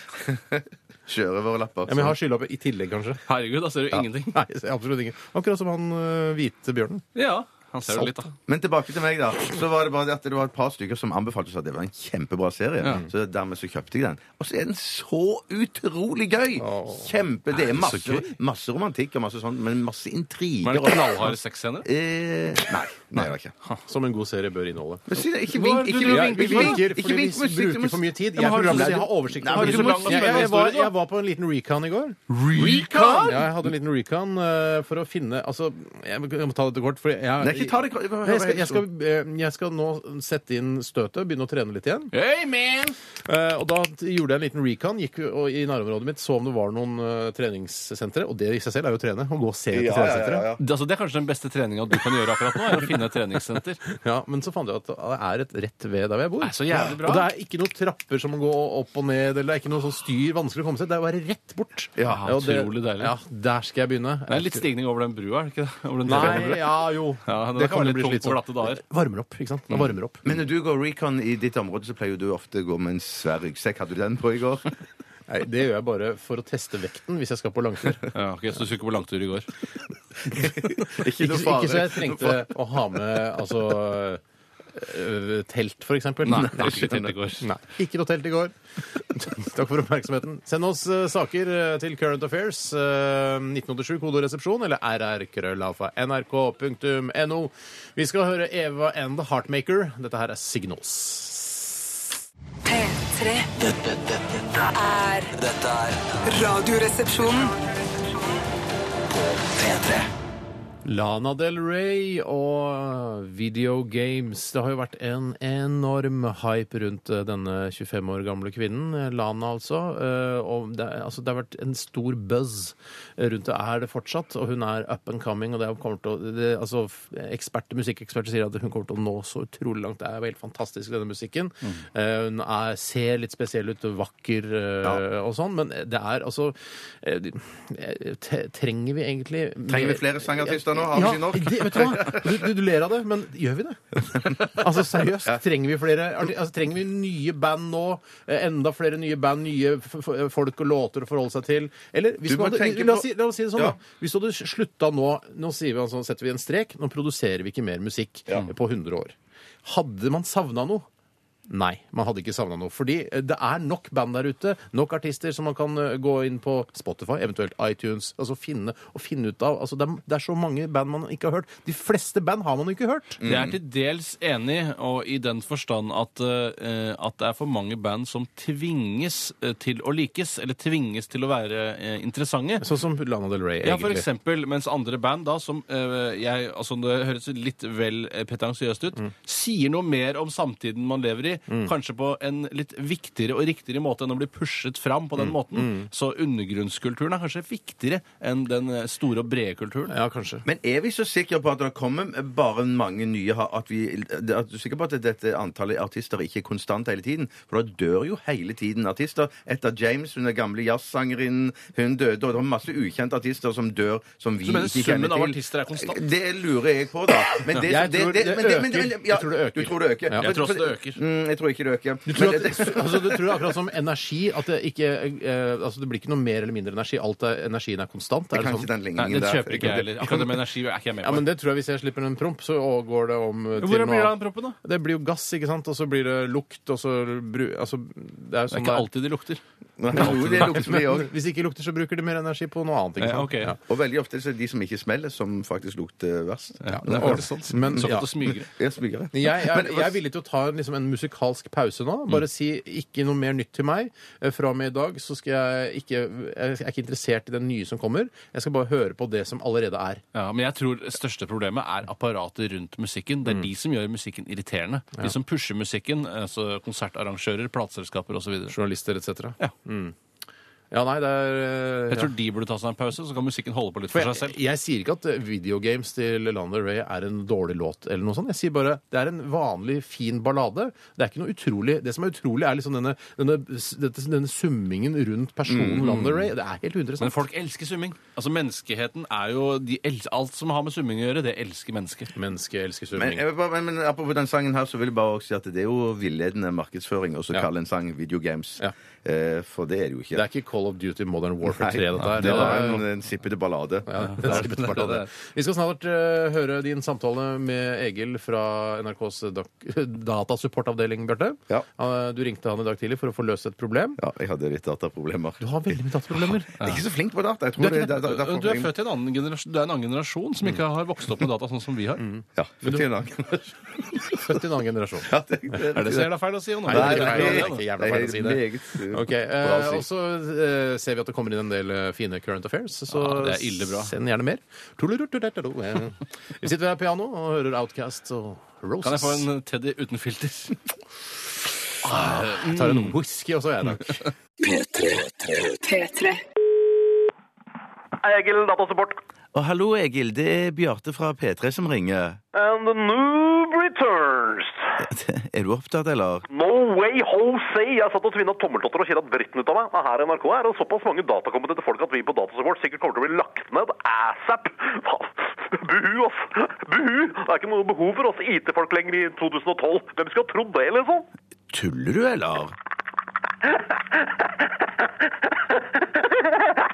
B: jeg.
D: Sjørøverlapper.
B: Ja, men jeg har skylapper i tillegg, kanskje.
C: Herregud, da ser du ingenting.
B: Nei, jeg ser absolutt ingen. Akkurat som han eh, hvite bjørnen.
C: Ja. Han ser jo litt, da.
D: Men tilbake til meg, da. Så var det bare det at det var et par stykker som anbefalte oss at det var en kjempebra serie.
C: Ja.
D: Så dermed så kjøpte jeg den. Og så er den så utrolig gøy! Kjempe, Det er
C: den så
D: masse, masse romantikk og masse sånn, men masse
C: Men
D: intriger.
C: er det knallharde sexscener?
D: Eh, nei, nei, det var ikke.
B: Som en god serie bør inneholde.
D: Men si det, ikke
C: Hva er
D: vink,
C: det du
D: ikke
B: Ja,
D: vink,
B: vi
D: ikke vink,
B: vinker
D: ikke
B: fordi
D: vink
B: vi
D: musikk,
B: bruker for mye tid. Jeg
C: Ja,
B: er
C: men har du
B: programleder,
C: så-
B: jeg har oversikt.
D: Nei, men
B: over
D: du
B: det.
D: må
B: jeg,
D: si-
B: jeg, var, jeg var på en liten recon i går.
D: Recon!
B: Ja, jeg hadde en liten recon eh, for å finne Altså, jeg må jeg må ta dette kort, for jeg
D: Nei, ikke ta det
B: Nei, jeg skal, jeg, skal, eh, jeg skal nå sette inn støtet, begynne å trene litt igjen.
C: Hey, man!
B: Eh, og Da t- gjorde jeg en liten recon, gikk jo- og i nærområdet mitt, så om det var noen eh, treningssentre. Og det i seg selv er jo å trene. Å gå og se etter
D: Ja, ja, ja,
B: treningssentre.
D: ja.
C: Det, altså, det er kanskje den beste treninga du kan gjøre akkurat nå, er å finne et treningssenter.
B: Ja, Men så fant jeg at det er et rett ved der hvor jeg bor.
C: Det er så jævlig
B: Og det
C: bra.
B: er ikke noen trapper som må gå opp og ned, eller det er ikke noe sånn styr vanskelig å komme seg. Det er å være rett bort.
D: Ja,
B: og det-
C: utrolig deilig.
B: Ja, der skal jeg begynne.
C: Det er litt stigning over den brua, er det ikke det? Over den
B: Nei,
C: treningsbrua.
B: ja, jo.
C: Ja, det kan være litt sånn. tungt på glatte dager.
B: Det Varmer opp, ikke sant. Det
C: Mm.
B: varmer opp.
D: Men når du går recon i ditt område, så pleier jo du ofte å gå med en svær ryggsekk. Hadde du den på i går?
B: Nei, det gjør jeg bare for å teste vekten hvis jeg skal på langtur.
C: Ja, ok, så du skulle ikke på langtur i går?
D: ikke
B: Ikke, ikke så jeg trengte å ha med altså øh, telt, for eksempel.
C: Nei, det var ikke telt i går.
B: Nei, ikke noe telt i går. Takk for oppmerksomheten. Send oss eh, saker eh, til Current Affairs, eh, 1987 kodoresepsjon, eller rrkrøllalfa nrk.no. Vi skal høre Eva and The Heartmaker. Dette her er Signals.
F: P3
E: Dette, dette, dette,
F: er
E: er- dette er
F: Radioresepsjonen.
E: P3.
B: Lana Del Rey og video games. Det har jo vært en enorm hype rundt eh, denne 25 år gamle kvinnen, eh, Lana altså. Eh, Og det, er- altså, det har vært en stor buzz rundt det. Er det fortsatt? Og hun er up and coming, og det er- kommer til å det, Altså, f- eksperter, musikkeksperter sier at hun kommer til å nå så utrolig langt. Det er jo helt fantastisk, denne musikken.
D: Mm.
B: Eh, Hun er, ser litt spesiell ut, vakker eh, og sånn, men det er altså eh, te- Trenger vi egentlig
D: Trenger vi flere sangartister nå? Har vi ikke nok?
B: det, vet du hva? Du, du, du ler av det, men gjør vi det? Altså Seriøst, trenger vi flere arti- altså, Trenger vi nye band nå? Eh, Enda flere nye band, nye f f folk og låter å forholde seg til? Eller hvis
D: Du må
B: man hadde,
D: tenke
B: la, oss
D: på-
B: si, la oss si det sånn,
D: Ja.
B: da. Hvis du hadde slutta nå Nå sier vi, altså, setter vi en strek. Nå produserer vi ikke mer musikk på 100 år. Hadde man savna noe? Nei, man hadde ikke savna noe. Fordi eh, det er nok band der ute, nok artister som man kan eh, gå inn på Spotify, eventuelt iTunes, altså finne og finne ut av. Altså, det, er, det er så mange band man ikke har hørt. De fleste band har man jo ikke hørt.
C: Jeg er til dels enig, og i den forstand at, eh, at det er for mange band som tvinges eh, til å likes, eller tvinges til å være eh, interessante.
B: Sånn som Lana Del Rey,
C: Ja, for
B: egentlig.
C: eksempel, mens andre band da, som eh, jeg, altså det høres litt vel eh, pretensiøst ut, sier noe mer om samtiden man lever i, kanskje på en litt viktigere og riktigere måte enn å bli pushet fram på den måten. Så undergrunnskulturen er kanskje viktigere enn den eh, store og brede kulturen.
B: ja, kanskje.
D: Men er vi så sikre på at det kommer bare mange nye ha- at vi, at Du er sikker på at dette antallet artister ikke er konstant hele tiden? For da dør jo hele tiden artister. Etter James, hun er gamle jazzsangerinnen, hun døde, og det var masse ukjente artister som dør som vi
C: Så du mener
D: ikke kjenner til.
C: summen av artister er konstant?
D: Det lurer jeg på, da. Men det,
B: Jeg tror det
D: men men
B: øker.
D: men-
B: Jeg tror det øker.
D: Du tror det øker?
B: Ja. Jeg
D: Men-
C: tror også det
D: for-
C: øker.
D: Mm, jeg tror ikke det øker.
B: Du tror,
D: Men
B: at,
D: det-
B: altså, du tror akkurat som energi at det ikke eh, altså, Det blir ikke noe mer eller mindre energi. Alt er, energien er konstant. Er
D: Jeg kan
B: det
D: ikke
B: sånn?
D: den ligningen
C: Nei, det
D: der.
C: kjøper ikke jeg heller. Akkurat det med energi er ikke jeg med
B: Ja,
C: på.
B: men det tror jeg Hvis jeg slipper en promp, så går det om eh, til
C: Hvordan blir det
B: noe
C: av den proppen, da?
B: Det blir jo gass, ikke sant? Og så blir det lukt, og så bru... Altså, det er jo
C: Det er
B: sånn
C: ikke alltid det lukter.
D: Nei, jo, det lukter vi
B: Men
D: òg.
B: hvis det ikke lukter, så bruker de mer energi på noe annet. ikke
C: Ja,
B: sant?
C: ok.
B: Ja.
D: Og veldig ofte så er det de som ikke smeller, som faktisk lukter verst.
C: Ja,
B: det er sånn. faktisk sant. Men, ja.
C: Såkalt å smygere.
D: Jeg smyger.
B: Jeg, jeg,
D: Men-
B: jeg er villig til å ta en, liksom, en musikalsk pause nå. Bare si ikke noe mer nytt til meg. Eh, Fra og med i dag så skal jeg ikke Jeg er ikke interessert i den nye som kommer. Jeg skal bare høre på det som allerede er.
C: Ja, men jeg tror det største problemet er apparatet rundt musikken. Det er de som gjør musikken irriterende. De som pusher musikken, altså konsertarrangører, plateselskaper osv.
B: Journalister etc.
C: Ja.
B: Ja, nei, det er eh,
C: Jeg
B: ja.
C: tror de burde ta seg en pause, så kan musikken holde på litt
B: For
C: for
B: jeg,
C: seg selv.
B: jeg sier ikke at eh, videogames til Lana Del Rey er en dårlig låt eller noe sånt. Jeg sier bare det er en vanlig, fin ballade. Det er ikke noe utrolig. Det som er utrolig, er liksom denne, denne, dette- denne summingen rundt personen Lana Del Rey. Det er helt
C: Men
B: uinteressant.
C: folk elsker summing. Altså Menneskeheten er jo de els Alt som har med summing å gjøre, det elsker mennesker.
B: Mennesket elsker
D: Men,
B: summing.
D: jeg vil bare, men, men apropos den sangen her, så vil jeg bare også si at det er jo villedende markedsføring å så kalle en sang videogames.
B: Ja.
D: Eh, for det er det jo ikke.
B: Det er ikke Call of Duty Modern Warfare
D: Nei,
B: 3, dette her.
D: det var
B: Ja,
D: en, en sippete ballade.
B: ja, det er sikkert bare det. Vi skal snart eh, høre din samtale med Egil fra NRKs dak- datasupportavdeling, Bjarte.
D: Ja.
B: Eh, Du ringte han i dag tidlig for å få løst et problem.
D: Ja, jeg hadde litt dataproblemer.
B: Du har veldig mye dataproblemer.
D: Jeg er ikke så flink på data.
C: Du
D: Jeg tror
C: er,
D: det,
C: ikke,
D: da- da- derfor-
C: du er født i en annen generasjon, du er en annen generasjon som ikke har vokst opp med data sånn som vi har.
D: Ja, født i en annen.
B: Født i en annen generasjon.
D: Ja, det- det-
C: Er det så jævla feil å si? Jon?
B: Nei,
D: Nei,
B: det er ikke
D: det
B: jævla feil å si det.
D: meget, uh,
B: Ok,
D: bra
B: eh,
D: å si.
B: Og så eh, ser vi at det kommer inn en del eh, fine current affairs, så
C: Ja, det er ille bra.
B: send gjerne mer. Tulleruttertertero, eh. Vi sitter ved piano og hører Outcast og Roses.
C: Kan jeg få en eh, Teddy uten filter?
B: Ah, Jeg tar en whisky også, jeg, takk.
A: P3.
F: Egil Datasupport.
D: Og hallo, Egil. Det er Bjarte fra P3 som ringer.
F: And the noob returns.
D: Er du opptatt, eller?
F: No way, Jose. Jeg satt og tvinna tommeltotter og kjeda dritten ut av meg. Og Her i NRK er det såpass mange datakompetente folk at vi på Datasupport sikkert kommer til å bli lagt ned asap. Hva? Buhu, ass. Buhu. Det er ikke noe behov for oss IT-folk lenger i 2012. Hvem skulle ha trodd det, liksom?
D: Tuller du, eller?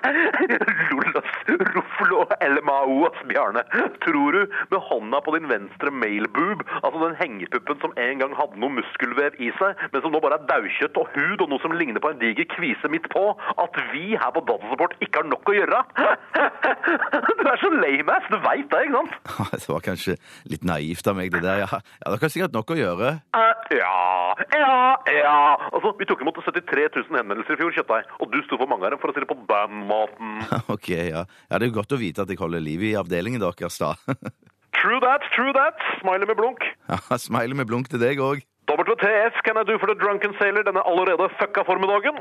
F: Lollas, Ruflo, LMAO, ass, altså, Bjarne. Tror du, med hånda på din venstre mailboob, altså den hengepuppen som en gang hadde noe muskelvev i seg, men som nå bare er daukjøtt og hud og noe som ligner på en diger kvise midt på, at vi her på Datasupport ikke har nok å gjøre? Du er så lame ass, du veit det, ikke sant?
D: Det var kanskje litt naivt av meg, det der. Ja, ja Dere har sikkert nok å gjøre.
F: Eh, Ja, ja, ja. Altså, vi tok imot 73 000 henvendelser i fjor, Kjøttdeig, og du sto for mange av dem, for å si det på den måten.
D: Ok, ja. ja. Det er jo godt å vite at jeg holder liv i avdelingen deres, da.
F: True that, true that. Smiley med blunk.
D: Ja, Smiley med blunk til deg òg.
F: WTF can I do for the drunken sailor denne allerede fucka formiddagen?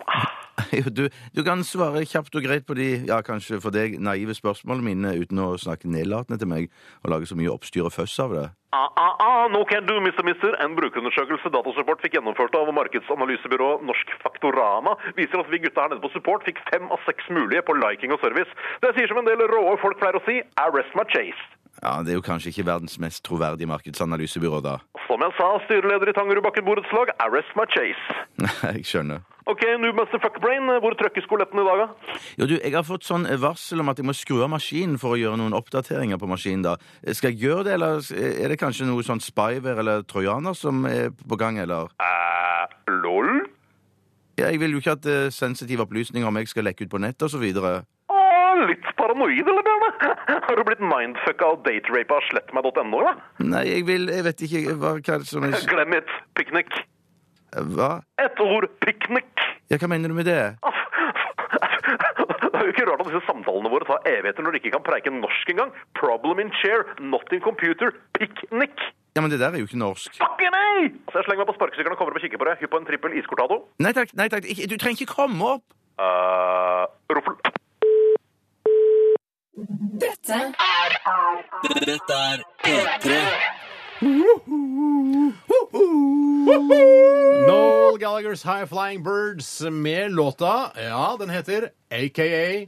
D: Du, du kan svare kjapt og greit på de, ja, kanskje for deg, naive spørsmålene mine uten å snakke nedlatende til meg og lage så mye oppstyr og føss av det.
F: Ah, ah, ah, no can do, mister, mister. En brukerundersøkelse Datasupport fikk gjennomført av markedsanalysebyrået Norsk Faktorama, viser at vi gutta her nede på support fikk fem av seks mulige på liking og service. Det sier som en del råe folk pleier å si, arrest my chase.
D: Ja, Det er jo kanskje ikke verdens mest troverdige markedsanalysebyrå, da.
F: Som jeg sa, styreleder i Tangerudbakken borettslag, arrest my chase.
D: Nei, jeg skjønner.
F: Ok, Noobmaster Fuckbrain, hvor trøkkes skoletten i dag, da?
D: Jo, du, Jeg har fått sånn varsel om at jeg må skru av maskinen for å gjøre noen oppdateringer på maskinen. da. Skal jeg gjøre det, eller er det kanskje noe sånn spyware eller trojaner som er på gang, eller?
F: Eh, lol?
D: Ja, jeg vil jo ikke at eh, sensitive opplysninger om jeg skal lekke ut på nettet osv.
F: Åh, litt paranoid, eller, Bjørne? Har du blitt mindfucka av daterapa av slettmeg.no, da?
D: Nei, jeg vil Jeg vet ikke hva, hva er det som er
F: Glem et piknik.
D: Hva?
F: Et ord piknik.
D: Ja, hva mener du med det?
F: Aff. Det er jo ikke rart at disse samtalene våre tar evigheter når de ikke kan preike norsk engang. Problem in chair, not in computer. Piknik.
D: Ja, men Det der er jo ikke norsk.
F: Fucking ei! Så jeg slenger meg på sparkesykkelen og kommer opp og kikker på deg. Hypp på en trippel iskortado.
D: Nei takk, nei takk, ikke, du trenger ikke komme opp!
F: Uh, ruffel.
B: Noel Gallaghers High Flying Birds med låta Ja, den heter AKA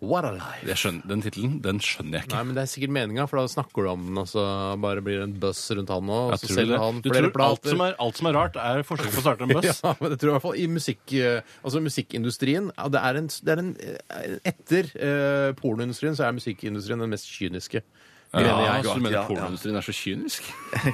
B: What a Life.
C: Jeg skjønner, den tittelen den skjønner jeg ikke.
B: Nei, men Det er sikkert meninga, for da snakker du om den, og så bare blir det en buzz rundt han nå, og
C: Jeg
B: så
C: tror
B: selger
C: det.
B: altså, han
C: du
B: flere
C: tror alt
B: plater.
C: som, er, alt som er rart, er forsøk på å starte en buss?
B: Ja, men det tror jeg i hvert fall i musikk, eh, altså musikkindustrien ja, det er en, det er en, eh, Etter eh, pornoindustrien så er musikkindustrien den mest kyniske.
C: Ja,
B: Mener jeg.
C: så du mener pornoindustrien er så kynisk?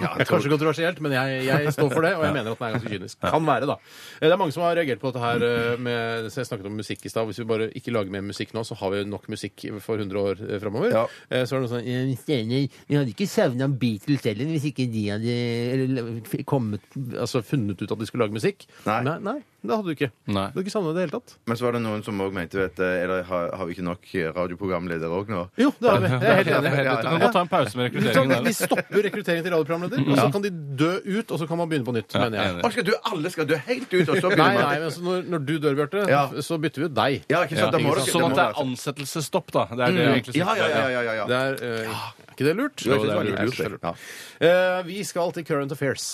B: Ja, kanskje kontroversielt, men jeg, jeg står for det, og jeg mener at den er ganske kynisk. Kan være, da. Eh, Det er mange som har reagert på dette her eh, med så Jeg snakket om musikk i stad. Hvis vi bare ikke lager mer musikk nå, så har vi jo nok musikk for 100 år eh, framover.
D: Ja.
B: Eh, Så er det noe sånn «Jeg er enig. Vi hadde ikke savna Beatles heller hvis ikke de hadde eller, kommet, altså, funnet ut at de skulle lage musikk.
D: Nei.
B: nei, nei det hadde du ikke.
C: Nei.
B: Du hadde ikke savna det i det hele tatt.
D: Men så var det noen som òg mente vet, du, er det- har, har vi ikke nok eh, radioprogramledere òg nå?
B: Jo, det har vi. Jeg er helt enig. Sånn
C: Du kan godt ta en pause
B: Vi
C: med
B: tar-
C: rekrutteringen.
B: Vi
C: der.
B: stopper rekrutteringen til radioprogramleder, og så kan de dø ut, og så kan man begynne på nytt, mener jeg.
C: enig.
D: Å, skal du, alle skal du helt ut, og så
B: Nei,
D: begynner
B: nei, men
D: man
B: altså, når, når du dør, Bjarte,
D: Ja.
B: f- så bytter vi ut deg.
D: Ja, ikke sant? Da
B: Ja,
D: må altså-
B: ikke sant.
D: dere
C: Sånn at det er
D: må
C: ansettelsesstopp, da. Det er det jeg egentlig
D: dere- Ja, ja, ja. ja, ja, ja.
B: Det er, eh, Er ikke det lurt?
D: Jo, jeg synes det var
B: det
D: litt
B: er
D: lurt,
B: Jeg synes det er
D: det. Ja.
B: Eh, vi skal til Current Affairs.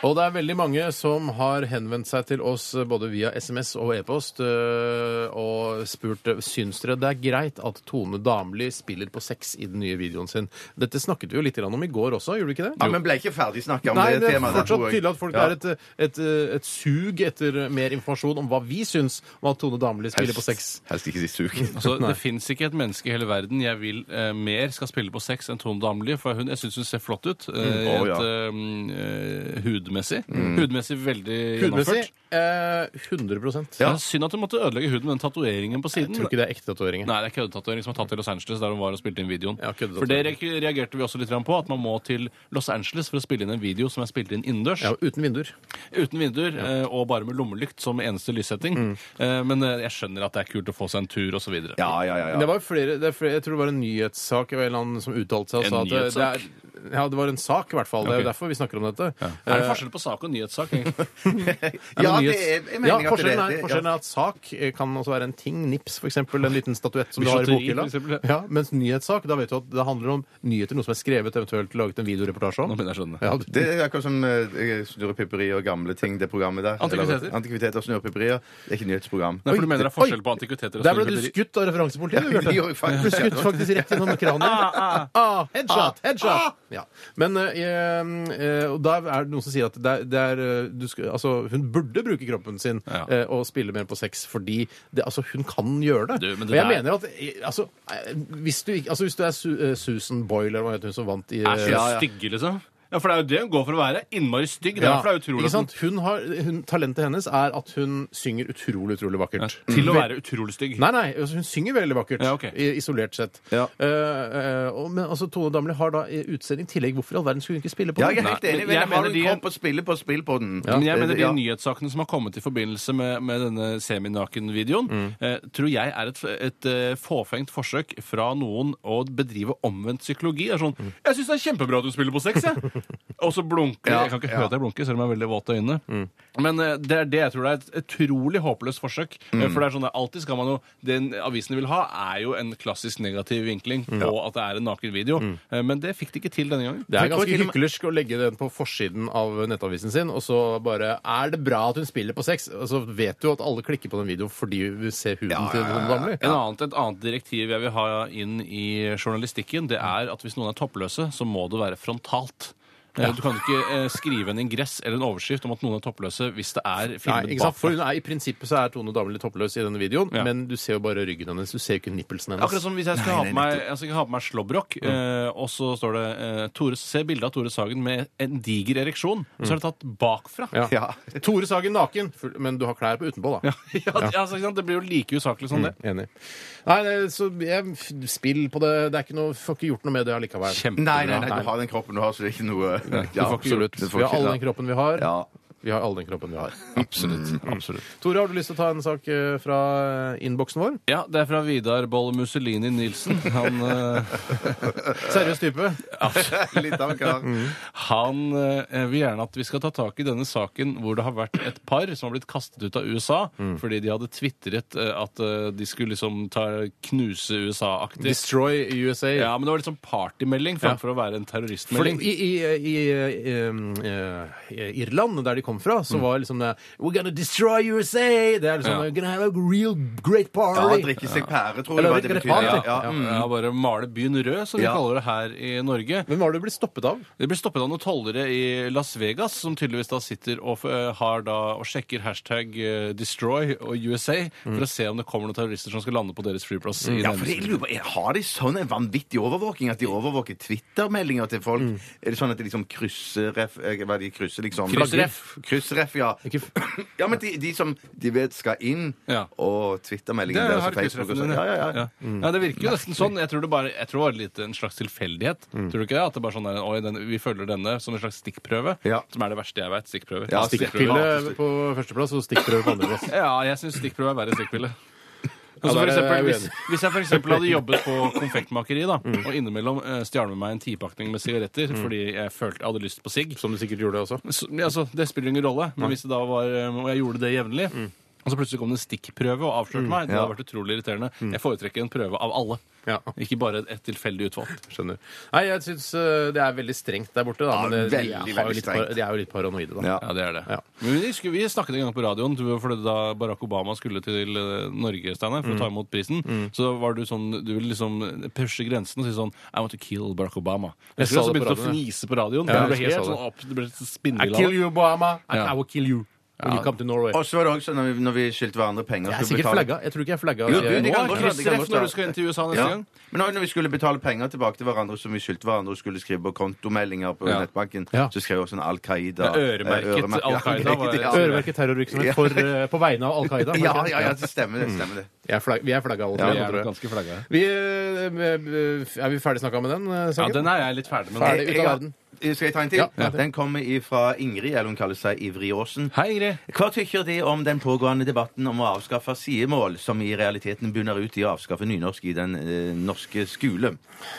B: Og det er veldig mange som har henvendt seg til oss eh, både via SMS og e-post eh, og spurt eh, syns dere det er greit at Tone Damli spiller på sex i den nye videoen sin. Dette snakket vi jo litt grann om i går også, gjorde vi ikke
D: Ja,
B: det?
D: men ble ikke ferdig snakka om
B: Nei,
D: det
B: det er
D: temaet. der,
B: fortsatt
D: tror jeg.
B: tydelig at folk
D: Ja.
B: det er et, eh, et, eh, et sug etter mer informasjon om hva vi syns om at Tone Damli spiller på sex.
D: Helst ikke si suk.
C: Altså, det fins ikke et menneske i hele verden jeg vil eh, mer skal spille på sex enn Tone Damli. For hun, jeg syns hun ser flott ut. Eh,
D: Å, ja.
C: rent, eh, hudmessig. Hudmessig veldig
B: Hudmessig
C: gjennomført.
B: eh, 100
C: Ja. Synd at hun måtte ødelegge huden med den tatoveringen på siden.
B: Jeg tror ikke det er ekte tatoveringer.
C: Nei, det er køddetatovering som er tatt til Los Angeles, der hun var og spilte inn videoen.
B: Ja, køddetatovering.
C: for det re- reagerte vi også litt grann på, at man må til Los Angeles for å spille inn en video som er spilt inn innendørs,
B: Ja, uten vinduer.
C: uten vinduer, eh, og bare med lommelykt som eneste lyssetting.
B: Mm.
C: Eh, Men eh, jeg skjønner at det er kult å få seg en tur, og så videre.
D: Ja, ja, ja.
B: Det
D: ja.
B: var jo flere, det er flere, jeg tror det var en nyhetssak eller en eller annen som uttalte seg og
C: En
B: sa at det, det er ja, det var en sak, i hvert fall. Det er
C: Ok.
B: jo derfor vi snakker om dette. Eh,
C: Er det forskjell på sak og nyhetssak? egentlig?
D: Ja,
B: men
D: det
B: nyhets-
D: er, jeg mener
B: ja,
D: at det er-
B: forskjellen, er,
D: det- ja.
B: forskjellen er at sak eh, kan også være en ting. Nips, for eksempel. En liten statuett som du har i
C: Bijouteri,
B: bokhylla.
C: for eksempel,
B: Ja, mens nyhetssak, da vet du at det handler om nyheter, noe som er skrevet, eventuelt laget en videoreportasje om.
C: Nå begynner jeg å skjønne.
B: Ja,
D: Det er akkurat som eh, snurrepipperi og gamle ting, det programmet der.
C: Antikviteter.
D: Eller- Antikviteter og snurrepipperier. Det er ikke nyhetsprogram.
C: Nei, for
B: Oi,
C: du mener det er
B: oi.
C: forskjell på antikviteter og
B: Der ble du
C: snurrepipperi?
B: skutt av
D: Ja,
B: referansepolitiet, du,
D: det
B: Bjarte.
D: gjorde jeg faktisk,
B: Du ble skutt
D: ja.
B: faktisk rett gjennom kranen.
C: Ah,
B: Ah, headshot! Headshot! Ja. Men eh, eh, og da er det noen som sier at det er, det er eh, du skal, altså, hun burde bruke kroppen sin
C: Ja.
B: eh, og spille mer på sex fordi det, altså, hun kan gjøre det.
C: Du, men
B: og
C: det
B: jeg
C: der-
B: mener at eh, altså, eh, hvis, du, ikke- altså, hvis du er Su eh, Susan Boyle eller hva heter hun som vant i eh,
C: Er så stygge, liksom? Ja, for det er jo det hun går for å være. Innmari stygg. Det er
B: ja,
C: derfor det er
B: ikke
C: utrolig at hun
B: sant? Hun har, hun, talentet hennes er at hun synger utrolig, utrolig vakkert.
C: Til å være utrolig stygg.
B: Nei, nei, altså, hun synger veldig vakkert,
C: Ja, ok.
B: i- isolert sett.
D: Ja.
B: Eh, eh, og, men altså, Tone Damli har da eh, utsetting i tillegg. Hvorfor i all verden skulle hun ikke spille på
D: Ja,
B: den?
D: jeg er helt
C: Nei,
D: enig.
C: men
D: men
C: jeg
D: Har
C: mener
D: du
C: de-
D: kom på spillet på spill på den?
C: Men jeg mener de
D: Ja.
C: nyhetssakene som har kommet i forbindelse med, med denne seminaken-videoen,
D: Mm.
C: eh, tror jeg er et, et eh, fåfengt forsøk fra noen å bedrive omvendt psykologi. Det er sånn
D: Mm.
C: 'Jeg syns det er kjempebra at du spiller på sex', jeg! Og så blunker de.
D: Ja,
C: Jeg kan ikke
D: ja. Mm.
C: høre at jeg blunker, selv om jeg har veldig våte øyne. Men eh, det er det jeg tror det er et utrolig håpløst forsøk. eh,
D: Mm.
C: For det er sånn at alltid skal man jo Den avisen vil ha, er jo en klassisk negativ vinkling
D: Mm.
C: på at det er en naken video. Eh, Men det fikk de ikke til denne gangen.
B: Det er
D: Jeg tror
B: ganske
D: til og med-
B: hyklersk å legge den på forsiden av nettavisen sin, og så bare Er det bra at hun spiller på sex? Og så vet du at alle klikker på den videoen fordi vi ser huden til den damli.
C: En annet, et annet direktiv jeg vil ha inn i journalistikken, det er at hvis noen er toppløse, så må det være frontalt. Eh, Du kan ikke eh, skrive en ingress eller en overskrift om at noen er toppløse hvis det er
B: Nei,
C: filmet
B: ikke sant? For
C: bakfra.
B: hun er, I prinsippet så er Tone Damli toppløs i denne videoen,
C: Ja.
B: men du ser jo bare ryggen hennes. Du ser jo ikke nippelsen hennes.
C: Akkurat som hvis jeg skal ha på meg, jeg skal ha på meg slåbrok, eh, og så står det eh, Tore, Se bildet av Tore Sagen med en diger ereksjon. Så er det tatt bakfra.
B: Ja.
D: Ja.
B: Tore Sagen naken, full- men du har klær på utenpå, da.
C: Ja, Mm. ja, så ikke sant? Det blir jo like usaklig som det.
B: Enig. Nei, nei, så jeg f- spill på det. Det er ikke noe, Får ikke gjort noe med det allikevel.
C: Kjempebra.
D: Nei, nei, nei, du har den kroppen du har, så det er ikke noe
B: Ja, absolutt. Vi har all den kroppen vi har.
D: Ja. Mm.
B: Vi har all den kroppen vi har.
C: Absolutt. absolutt.
B: Tore, har du lyst til å ta en sak eh, fra eh, innboksen vår?
C: Ja, det er fra Vidar Boll Mussolini Nilsen. Han eh,
B: Seriøs type.
D: Litt av en kar.
C: Han eh, vil gjerne at vi skal ta tak i denne saken hvor det har vært et par som har blitt kastet ut av USA
D: Mm.
C: fordi de hadde tvitret eh, at eh, de skulle liksom ta, knuse USA-aktig.
B: Destroy USA.
C: Ja, men det var liksom partymelding framfor å være en
B: Fordi
C: terroristmelding.
B: i, i, i, i um, eh, Irland, der de kom fra, så var liksom det We're gonna destroy USA! Det er liksom
C: Ja.
B: We're gonna have a real great
D: Ja,
B: party!
D: drikke seg pære, tror
B: Eller
D: jeg hva
B: drikke
D: det
B: det
D: betyr.
B: pære.
D: Ja,
C: Ja, Mm.
D: ja.
C: ja, bare male byen rød, som vi
D: Mm. Ja.
C: kaller det her i Norge.
B: Hvem var det du ble stoppet av?
C: Det blir stoppet av noen tollere i Las Vegas, som tydeligvis da sitter og, eh, har da, og sjekker hashtag eh, destroy og USA for å se om det kommer noen terrorister som skal lande på deres flyplass. i
D: Mm. Ja,
C: nærmeste
D: for jeg lurer på, er- Har de sånn en vanvittig overvåking at de overvåker Twitter-meldinger til folk? Er det sånn at de liksom krysser ref, eh, Hva er det de krysser, liksom?
C: Kryssref.
D: Kryssref, ja.
B: Ikke f-
D: Ja, men de, de som de vet skal inn,
C: Ja.
D: og Twitter-meldingene
C: Det
D: deres
C: har
D: og Facebook og sånn.
C: kryssreferene.
D: Ja, ja, ja.
C: Ja.
B: Mm.
C: Ja, det virker jo nesten sånn. Jeg tror det bare jeg tror det var litt en slags tilfeldighet.
B: Mm.
C: Tror du ikke det? At det bare sånn er, Oi, den, vi følger denne som en slags stikkprøve.
D: Ja.
C: Som er det verste jeg vet. Stikkprøver.
D: Ja,
B: Stikkpille
D: stikkprøver.
B: på førsteplass og stikkprøve på andreplass.
C: Ja, jeg syns stikkprøve er verre enn stikkpille. Og så
B: Ja, der
C: for
B: er jeg
C: eksempel, hvis,
B: uenig. Mm.
C: hvis jeg for eksempel hadde jobbet på konfektmakeri da, og innimellom eh, stjal med meg en tipakning med sigaretter fordi jeg følte jeg hadde lyst på sigg,
B: Som du sikkert gjorde også.
C: så, ja, altså, det spiller ingen rolle, men hvis det da var eh, Og jeg gjorde det jevnlig.
B: Mm.
C: Og så plutselig kom det en stikkprøve og avslørte meg. Det hadde vært utrolig irriterende. Jeg foretrekker en prøve av alle.
B: Mm. Ja.
C: Ikke bare et tilfeldig utvalgt.
B: Skjønner. Nei, jeg syns eh, det er veldig strengt der borte, da.
D: Ja,
B: Men eh,
D: veldig,
B: de, har
D: veldig
B: jo litt,
D: strengt.
B: par- de er jo litt paranoide, da.
D: Ja.
C: Ja, det er det.
B: Ja.
C: Men vi, husker- vi snakket en gang på radioen du, fordi da Barack Obama skulle til eh, Norge Steiner,
B: Mm.
C: for å ta imot prisen. Så var du sånn Du ville liksom pushe grensen og si sånn I want to kill Barack Obama.
B: Jeg
C: Jeg
B: sa
C: husker du
B: det på
C: begynte å
B: radioen, ja.
C: fnise på radioen.
B: Ja,
C: du ble
B: jeg sa
C: helt
B: det.
C: sånn opp, du ble
B: I
C: spinnevill
B: kill
C: av det.
B: you, Obama. I,
C: Ja.
B: I will kill you. When you come to Norway.
D: Og så var det også når vi, når vi skyldte hverandre penger.
B: Jeg er
D: skulle
B: sikkert
D: betale-
B: flagga. Jeg tror ikke jeg flagga.
D: Jo,
B: Jeg-
D: du,
B: Nå er
D: det kan godt
B: det Chris-
D: være. det kan godt
C: Kristreff når
D: være.
C: du skal inn til USA neste
D: Ja.
C: gang.
D: Men også når vi skulle betale penger tilbake til hverandre som vi skyldte hverandre, og skulle skrive på kontomeldinger på
C: Ja.
D: nettbanken,
B: Ja.
D: så skrev jeg også en Al Qaida.
C: Ja, øremerket
D: eh, øremerket-
C: Al Qaida
D: Ja,
C: var-
D: det- ja.
B: Øremerket terrorvirksomhet for, eh, på vegne av Al Qaida.
D: Ja, ja, ja, det stemmer det. stemmer det.
B: Jeg er flagg- Vi er flagga alle
D: Ja,
B: tre. nå,
D: vi er
B: tror jeg.
C: ganske flagga.
B: Vi, eh, er vi ferdig snakka med den eh,
C: Ja,
B: saken?
C: den er jeg litt ferdig
B: Er
C: med. nå.
B: Ferdig. det ut av verden?
D: Jeg- Eh, Skal jeg ta en til?
B: Ja, ja.
D: Den kommer fra Ingrid, eller hun kaller seg Ivrig Aasen.
C: Hei, Ingrid.
D: Hva tykker De om den pågående debatten om å avskaffe sidemål, som i realiteten bunner ut i å avskaffe nynorsk i den eh, norske skole?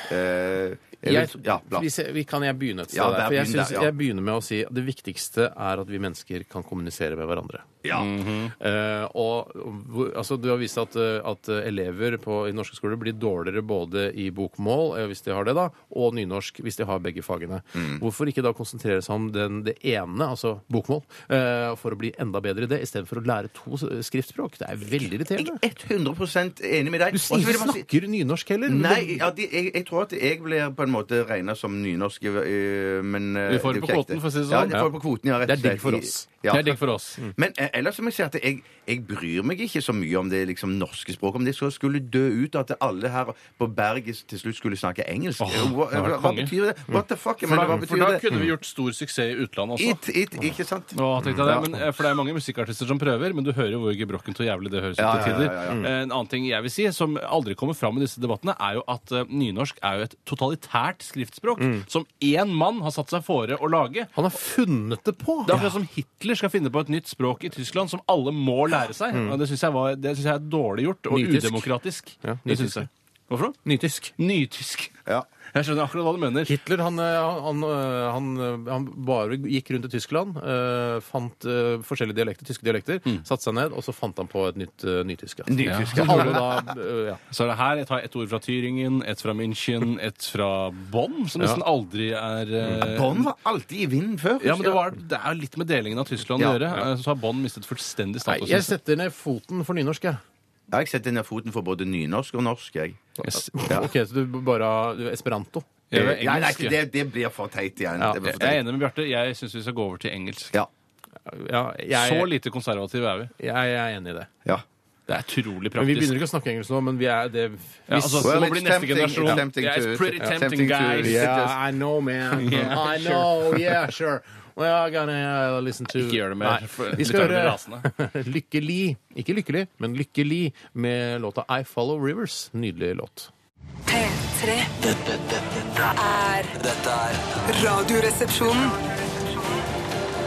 D: Eh,
B: Jeg,
D: vil- ja, bla.
B: hvis jeg, vi- kan jeg begynne et sted
D: Ja,
B: der?
D: der,
B: For jeg,
D: begynn der,
B: synes,
D: ja.
B: jeg begynner med å si at det viktigste er at vi mennesker kan kommunisere med hverandre.
D: Mm.
B: Eh, og hvor- altså, Du har vist at, eh, at elever på, i norske skoler blir dårligere både i bokmål, eh, hvis de har det, da, og nynorsk, hvis de har begge fagene.
C: Mm.
B: Hvorfor ikke da konsentrere seg om den, det ene, altså bokmål, eh, for å bli enda bedre i det, istedenfor å lære to s- skriftspråk? Det er veldig irriterende.
D: Jeg er 100 enig med deg.
B: Du
D: Og så vil jeg bare si-
B: snakker nynorsk heller.
D: Nei, ja, de, jeg, jeg tror at jeg blir på en måte regna som nynorsk, øh, men øh,
C: Vi får det
D: er
C: på
D: jo ikke
C: kvoten,
D: ekte.
C: for å si det sånn.
D: Ja, jeg får det på kvoten, ja, rett
B: Det
D: og
B: er digg
D: slett.
B: for oss.
D: Ja.
C: Det er digg for oss.
D: Men eh, ellers må jeg si at jeg, jeg bryr meg ikke så mye om det liksom, norske språket. Om det så skulle dø ut, at alle her på berget til slutt skulle snakke engelsk.
C: Åh,
D: Eh, hva,
C: det var
D: hva,
C: konge.
D: betyr det? What the fuck?
C: For
D: Men,
C: da,
D: hva
C: for da
D: betyr det?
C: kunne vi gjort stor suksess i utlandet også.
D: It, it, ikke sant?
C: Å, tenkte jeg det, men, eh, for det er mange musikkartister som prøver, men du hører jo hvor gebrokkent og jævlig det høres ut
D: Ja,
C: til
D: ja,
C: tider.
D: ja, ja, Mm. ja.
C: Eh, En annen ting jeg vil si, som aldri kommer fram i disse debattene, er jo at eh, nynorsk er jo et totalitært skriftspråk
D: Mm.
C: som én mann har satt seg fore å lage.
B: Han har funnet det på!
C: Det er akkurat som Hitler skal finne på et nytt språk i Tyskland som alle må lære seg.
D: Mm.
C: Og det syns jeg, var- det synes jeg er dårlig gjort og
B: Nytysk.
C: udemokratisk.
B: Ja,
C: det synes
B: nytysk.
C: jeg. Hvorfor? da?
B: Nytysk.
C: Nytysk.
D: Ja.
C: Jeg skjønner akkurat hva du mener.
B: Hitler han, eh, han, eh, han, eh, han bare gikk rundt i Tyskland, eh, fant eh, forskjellige dialekter, tyske dialekter, satte seg ned, og så fant han på et nytt eh, Mm. nytysk. Ja.
D: Nytysk,
B: Så alle da, eh, ja.
C: Så er det her, jeg tar et ord fra Tyringen, et fra München, et fra Bonn, som nesten aldri er eh,
D: Bånd var alltid i vinden før.
C: Ja, men det, var, det er jo litt med delingen av Tyskland
D: Ja,
C: å gjøre. eh, Så har Bonn mistet fullstendig
B: Nei,
C: status.
B: jeg setter ned foten for nynorsk, jeg.
D: Ja, jeg setter ned foten for både nynorsk og norsk. Jeg.
C: Yes.
B: Ok, så du bare du, Esperanto.
C: Jeg,
D: Eh, nei, nei,
C: engelsk,
D: det, det blir for teit igjen.
C: ja.
D: Det blir
C: jeg
D: for
C: jeg er
D: teit.
C: enig med Bjarte. Jeg syns vi skal gå over til engelsk.
D: Ja.
B: Ja, jeg,
C: Så lite konservative er vi.
B: jeg, jeg er enig i det.
D: ja.
C: Det er utrolig
B: Men vi
C: praktisk.
B: begynner ikke å snakke engelsk nå, men vi er det
C: ja, altså,
B: hvis-
C: det
D: Well,
C: må bli
D: it's
C: neste
D: tempting,
C: generasjon.
D: it's tempting
C: Yeah,
D: to-
C: it's pretty
D: yeah,
C: tempting,
D: tempting to-
C: guys.
D: Yeah.
B: Yeah, I know, man. I know. Yeah, sure. Well, I'm gonna uh, listen to
C: Ikke gjør det mer. for-
B: Nei, vi
C: lytterne
B: skal
C: blir
B: høre
C: rasende.
B: Lykkelig. Ikke lykkelig, men Lykkelig med låta I Follow Rivers. Nydelig låt.
G: P3
E: Dette, dette, dette,
G: er
E: dette er
G: Radioresepsjonen.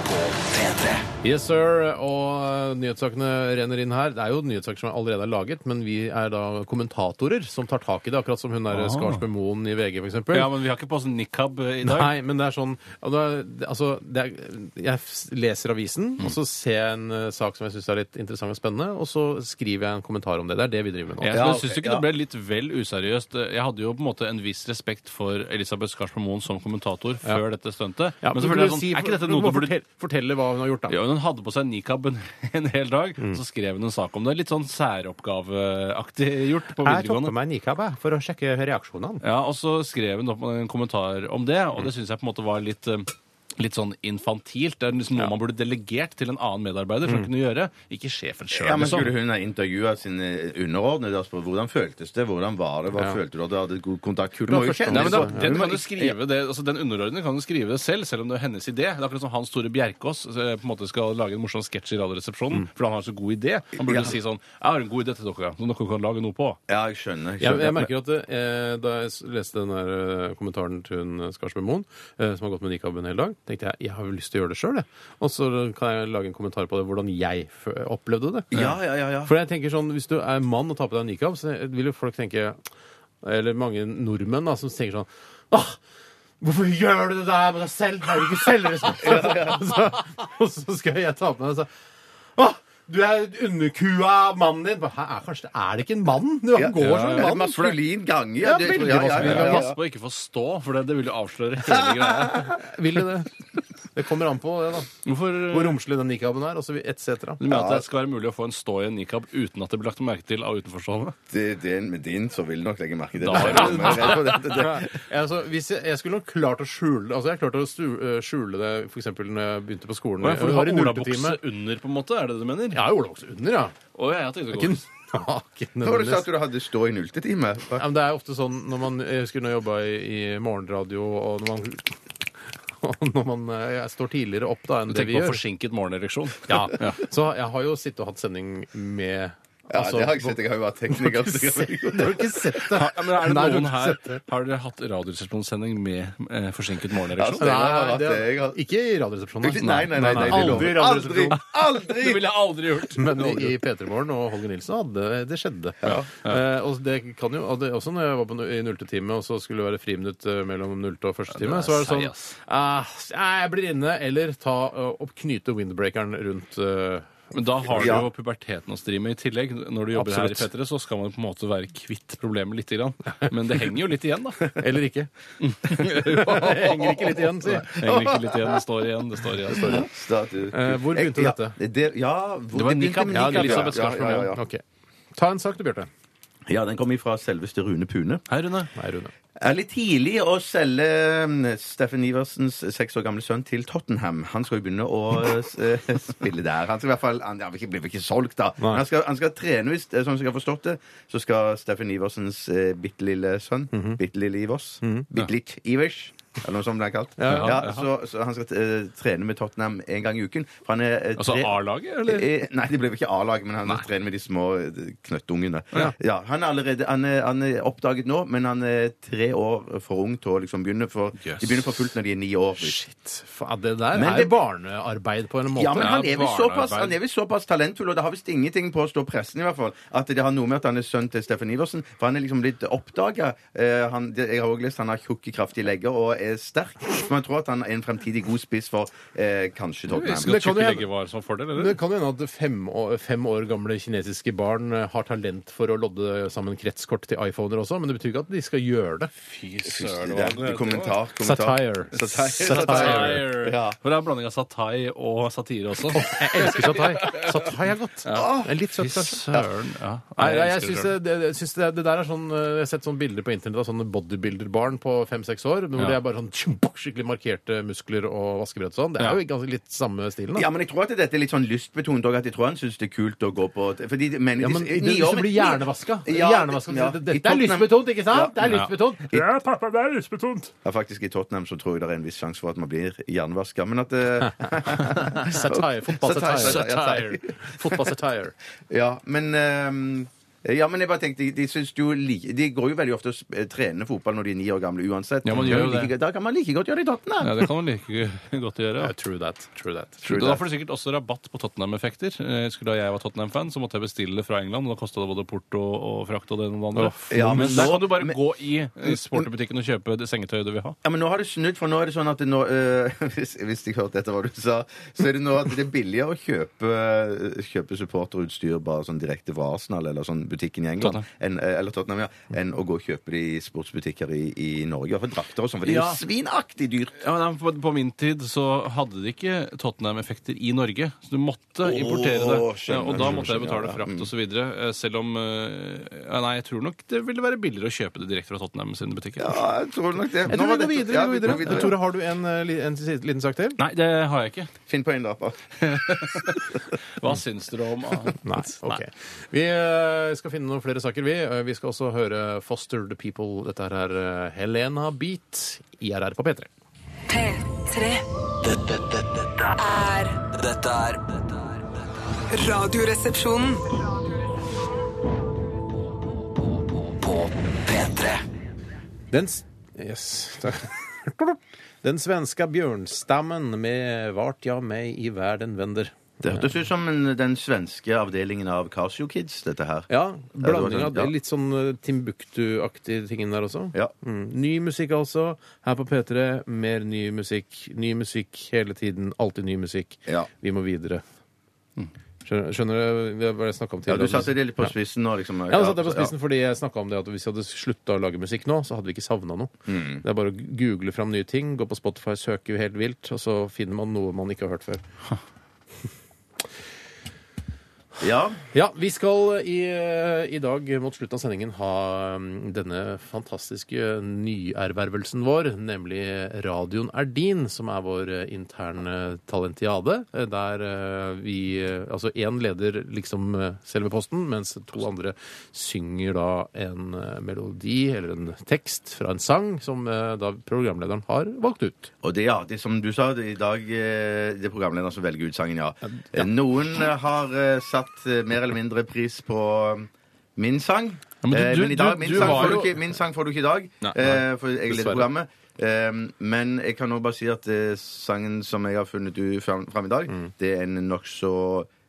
E: P3
B: Yes, sir. Og uh, nyhetssakene renner inn her. Det er jo nyhetssaker som allerede er laget, men vi er da kommentatorer som tar tak i det, akkurat som hun der Skarsbø Moen i VG, for eksempel.
C: Ah. Ja, men vi har ikke på oss nikab eh, i dag.
B: Nei, men det er sånn og da- Altså, det er, jeg f- leser avisen, og så ser jeg en eh, sak som jeg syns er litt interessant og spennende, og så skriver jeg en kommentar om det. Det er det vi driver med nå.
C: Jeg
D: Ja,
C: ja,
D: ok,
C: syns ikke
D: ja.
C: det ble litt vel useriøst. Jeg hadde jo på en måte en viss respekt for Elisabeth Skarsmo Moen som kommentator før dette stuntet.
B: Ja,
C: men
B: du burde
C: selvfølgelig er det sånn,
B: si-
C: er ikke dette
B: du må
C: noe du burde
B: fortelle, fortelle hva hun har gjort, da.
C: ja, men Hun hadde på seg nikab en, en hel dag,
B: Mm.
C: så skrev hun en sak om det. Litt sånn særoppgaveaktig
B: Jeg
C: gjort på
B: tok på
C: videregående.
B: meg nikab jeg, for å sjekke reaksjonene.
C: Ja, Og så skrev hun opp en kommentar om det, og
B: Mm.
C: det syns jeg på en måte var litt eh, Litt sånn infantilt. Det er liksom noe man burde delegert til en annen medarbeider.
B: Mm.
C: som kunne gjøre, Ikke sjefen sjøl,
D: Ja, men
C: liksom.
D: Skulle hun ha intervjua sine underordnede? Altså, hvordan føltes det? Hvordan var det? Hva følte du at du hadde god kontakt? Kult,
B: å ha forskjellig-
C: Nei, men da,
B: Ja,
C: den, kan jo skrive det, altså den underordnede kan jo skrive det selv, selv om det er hennes idé. Det er akkurat som Hans Tore Bjerkås eh, på en måte skal lage en morsom sketsj i
B: Mm.
C: Radioresepsjonen, for han har så god idé. Han burde
D: Ja.
C: jo si sånn Jeg har en god idé til dere, som dere kan lage noe på.
D: Ja, jeg skjønner. Jeg
B: Jeg,
D: skjønner.
B: jeg merker jo at eh, Da jeg s- leste den der eh, kommentaren til hun Skarsbø Moen, eh, som har gått med nikab en hel dag, tenkte jeg jeg har jo lyst til å gjøre det sjøl. Og så kan jeg lage en kommentar på det, hvordan jeg f opplevde det.
D: Ja, ja, ja, ja.
B: For jeg tenker sånn, Hvis du er mann og tar på deg nikab, så vil jo folk tenke Eller mange nordmenn da, som tenker sånn Åh, Hvorfor gjør du det der med deg selv? Har du ikke selvrespekt? Og så- og så skal jeg ta på meg det, og så Åh, Du er underkua av mannen din. Bare, Hæ, er, kanskje, det- er det ikke en mann? Du han går som en
D: Ja,
B: mann.
D: Maskulin gange.
B: Ja,
D: det-
B: veldig maskulin
D: ja, ja.
C: Pass på å ikke få stå, for det, det vil jo avsløre hele greia.
B: Vil du det? Det kommer an på det, da.
C: Hvorfor eh,
B: Hvor romslig den nikaben er, og så vi- et cetera.
C: Du mener at det skal være mulig å få en stå i en nikab uten at det blir lagt merke til av utenforstående?
D: Det, det er en med din som vil nok legge merke til det.
C: Da er det-
D: Jeg er redd for det. det, det.
B: Ja, altså, hvis jeg, jeg skulle nok klart å skjule det. Altså, jeg klarte å stu- øh, skjule det f.eks. når jeg begynte på skolen.
C: For du
B: Jeg var
C: har
B: i
C: olabukse
B: nulltime.
C: under, på en måte? Er det det du mener?
B: Jeg har olabukse under, ja.
C: Å, ja, jeg tenkte
B: Ikke naken.
C: godt.
D: Nå har du
B: nødvendigvis.
D: sagt at du hadde stå i nultetime.
B: Ja, men det er ofte sånn når man Jeg husker når jeg jobba i, i morgenradio, og når man og når man eh, jeg står tidligere opp da enn
C: Du
B: det vi
C: tenker på
B: gjør.
C: forsinket morgenereksjon?
B: Ja. Så jeg har jo sittet og hatt sending med altså,
D: Ja, det har jeg ikke sett. Jeg har jo vært tekniker. så jeg vet
B: Du
D: ikke.
B: har ikke sett det?
C: Ja, men er det
B: Nei, du
C: noen
B: har
C: her
B: ikke sett det.
C: Har dere hatt radioresepsjonssending med eh, forsinket
D: Ja,
B: altså,
C: morgenereksjon?
D: stemmer. har
B: Nei,
D: hatt
B: det
D: det, jeg har-
B: har, ikke i Radioresepsjonen.
D: Nei, nei, nei. nei, det lover jeg.
B: Aldri,
D: aldri! Aldri!
C: Det ville jeg aldri gjort.
B: Men i, i P3 Morgen og Holger Nilsen hadde det skjedde. Eh, og det kan jo og det, Også når jeg var på, nu- i nullte time, og så skulle det være friminutt eh, mellom nullte og første time,
C: er
B: så var det
C: seig,
B: sånn
C: ass.
B: eh, nei, Jeg blir inne, eller ta eh, og knyte windbreakeren rundt eh,
C: Men da har du
D: Ja.
C: jo puberteten å stri med i tillegg. Når du jobber her i
B: Absolutt.
C: P3, så skal man på en måte være kvitt problemet lite grann. Men det henger jo litt igjen, da.
B: Eller ikke.
C: det
B: henger ikke litt igjen, si.
C: Det henger ikke litt igjen. Det står igjen. Det står igjen. Det står igjen.
D: Status.
B: Eh, hvor begynte
D: Jeg- ja,
B: dette?
D: Det, ja, hvor
C: Det var
D: det begynte
C: nikab.
D: med
C: Ja,
D: nikab,
C: Elisabeth Skars
D: ja, ja, ja.
B: Ok. Ta en sak du, Bjarte.
D: ja, den kom ifra selveste Rune Pune.
C: Hei, Rune.
B: Nei, Rune.
D: er litt tidlig å selge mm, Steffen Iversens seks år gamle sønn til Tottenham. Han skal jo begynne å eh, s- eh, spille der. Han skal i hvert fall, han ja, blir ikke- blir ikke solgt, da. Men han skal, han skal trene, hvis, eh, sånn som jeg har forstått det. Så skal Steffen Iversens eh, bitte lille sønn, bitte lille Ivers, bitte litt Ivers eller noe sånt det er kalt. Mhm. Ja, så, så han skal eh, trene med Tottenham en gang i uken. For han er eh,
C: Altså
D: tre-
C: A-laget, eller?
D: Eh, Nei, det ble vel ikke A-lag, men han trener med de små eh, knøttungene. Ja. han, er allerede, han, er, han er oppdaget nå, men han er tre år for ung til å liksom begynne. For,
C: Yes.
D: De begynner for fullt når de er ni år.
B: Shit. Faen, det der
D: Men
B: er
D: det-
B: barnearbeid på en måte.
D: Ja, men han
C: Ja,
D: er, vel såpass,
C: barnearbeid.
D: han er vel såpass talentfull, og det har visst ingenting på å stå pressen, i hvert fall, at det har noe med at han er sønn til Steffen Iversen, for han er liksom blitt oppdaga. Jeg har også lest han har tjukke, kraftige legger og er sterk, så man tror at han er en fremtidig god spiss for eh, kanskje
C: Jeg
D: Tottenham.
C: Skal
B: Det kan jo
C: tjukke
B: hende-
C: legger var som fordel,
B: Men Det
C: eller?
B: kan jo hende at fem år, fem år gamle kinesiske barn eh, har talent for å lodde sammen kretskort til iPhoner også, men det betyr ikke at de skal gjøre det.
C: Fy
D: Det
C: søren. hva
D: er
C: det-
D: Kommentar, kommentar.
B: Satire.
D: Satire.
C: Satire.
D: Ja.
C: For det er en blanding av satai og satire også.
B: Jeg elsker satire. Satire er godt. Ah, Det er litt søtt, kanskje.
C: Søren. Ja.
B: Nei, jeg,
C: elsker
B: jeg syns det, det, jeg synes det, det der er sånn eh, Jeg har sett sånne bilder på internett av sånne bodybuilder-barn på fem-seks år. Hvor
C: Ja.
B: det er bare sånn tjum, skikkelig markerte muskler og vaskebrett og sånn. Det
C: Ja.
B: er jo ganske litt samme stilen. da.
D: Ja, men jeg tror at dette er litt sånn lystbetont òg. At jeg tror han syns det er kult å gå på Fordi de mener
B: Ja, men
D: disse-
B: det-
D: ni
B: Hvis
D: år-
B: du blir hjernevaska
D: Ja,
B: hjernevaska,
D: ja.
B: det-
D: I
B: Dette er
D: Tottenham-
B: lystbetont, ikke sant? Det er
C: Ja.
B: lystbetont. Ja, pappa, det er lystbetont.
D: Ja, faktisk, i Tottenham så tror jeg det er en viss sjanse for at man blir hjernevaska. Men at eh,
B: Satire. Fotball-satire.
D: Satire, satire.
B: Satire. Fotball-satire.
D: Ja, men eh, ja, men jeg bare tenkte, de, syns jo like, de går jo veldig ofte og sp- trener fotball når de er ni år gamle uansett.
C: Ja, man gjør jo
D: Da kan like,
C: det.
D: da kan man like godt gjøre det i Tottenham.
C: Ja, det kan man like godt gjøre.
B: Ja, True that. True that.
D: True
C: Da
D: that.
C: får du sikkert også rabatt på Tottenham-effekter. Eh, Husker Da jeg var Tottenham-fan, så måtte jeg bestille det fra England. og Da kosta det både porto og frakt og det ene og det andre.
D: Ja, men
C: men, der
D: nå-
C: kan du bare
D: men-
C: gå i eh, sporterbutikken og kjøpe det sengetøyet du vil ha.
D: Ja, men nå har det snudd, for nå er det sånn at det nå, eh, hvis, hvis jeg hørte etter hva du sa, så er det nå at det er billigere å kjøpe, eh, kjøpe supporterutstyr bare sånn direkte fra Arsenal eller sånn butikken i England
C: Tottenham.
D: enn- eh, eller Tottenham, ja, enn å gå og kjøpe det i sportsbutikker i, i Norge. For drakter og sånn, for det er jo
C: Ja.
D: svinaktig dyrt.
C: Ja, men nei, på, på min tid så hadde de ikke Tottenham-effekter i Norge. Så du måtte importere det.
D: skjønner,
C: Ja, og da
D: skjønner,
C: måtte jeg
D: skjønner,
C: betale
D: ja, ja.
C: frakt og så videre eh, Selv om eh, ja, Nei, jeg tror nok det ville være billigere å kjøpe det direkte fra Tottenham sine butikker.
D: Ja, jeg tror nok det.
B: Jeg
D: Nå
B: tror
D: var
B: vi går
D: dette-
B: videre.
D: ja,
B: vi går videre.
D: ja.
B: Tore, har du en, eh, li- en si- liten sak til?
C: Nei, det har jeg ikke.
D: Finn på en lapp.
C: Hva syns dere om
B: Nei. ok. Vi eh, skal finne noen flere saker, vi. Eh, Vi skal også høre Foster the People. Dette her er eh, Helena Beat, IRR på P3.
G: P3
E: Dette, dette, dette, er-
G: er
E: dette er dette er-
G: Radioresepsjonen.
E: på P3.
B: Den s- Yes. takk. Den svenska bjørnstammen med 'Vart jag mig i världen vänder'.
D: Det hørtes ut som en, den svenske avdelingen av Casio Kids, dette her.
B: Ja, blanding av
D: Ja, det var sånn, ja.
B: det. Litt sånn eh, Timbuktu-aktig tingen der også.
D: Ja.
B: Mm. Ny musikk altså. Her på P3, mer ny musikk. Ny musikk hele tiden. Alltid ny musikk.
D: Ja. Mm.
B: Vi må videre. Skjønner skjønner du hva jeg snakka om
D: Ja, du
B: tidligere?
D: satte det litt på spissen nå, liksom.
B: Ja, nå satte jeg på spissen fordi jeg snakket om det at Hvis vi hadde slutta å lage musikk nå, så hadde vi ikke savna noe.
D: Mm.
B: Det er bare å google fram nye ting, gå på Spotify, søke helt vilt, og så finner man noe man ikke har hørt før.
D: Ja.
B: Ja, vi skal i, i dag mot slutten av sendingen ha mm, denne fantastiske nyervervelsen vår, nemlig Radioen er din, som er vår eh, interne talentiade. eh, Der eh, vi eh, Altså én leder liksom eh, selve posten, mens to andre synger da en eh, melodi eller en tekst fra en sang som eh, da programlederen har valgt ut.
D: Og det, ja, det som du sa, det er i dag eh, det er programlederen som velger ut sangen, ja. Eh, Noen eh, har eh, satt eh, mer eller mindre pris på eh, min sang.
C: Ja, men du-
D: Eh,
C: du-
D: men i dag,
C: du-
D: min,
C: du
D: sang
C: var
D: får du
C: jo-
D: ikke, min sang får du ikke i dag,
C: Nei.
D: eh, for jeg leder
B: Dessverre.
D: programmet. Eh, men jeg kan nå bare si at eh, sangen som jeg har funnet ut fram, fram i dag,
C: Mm.
D: det er en nokså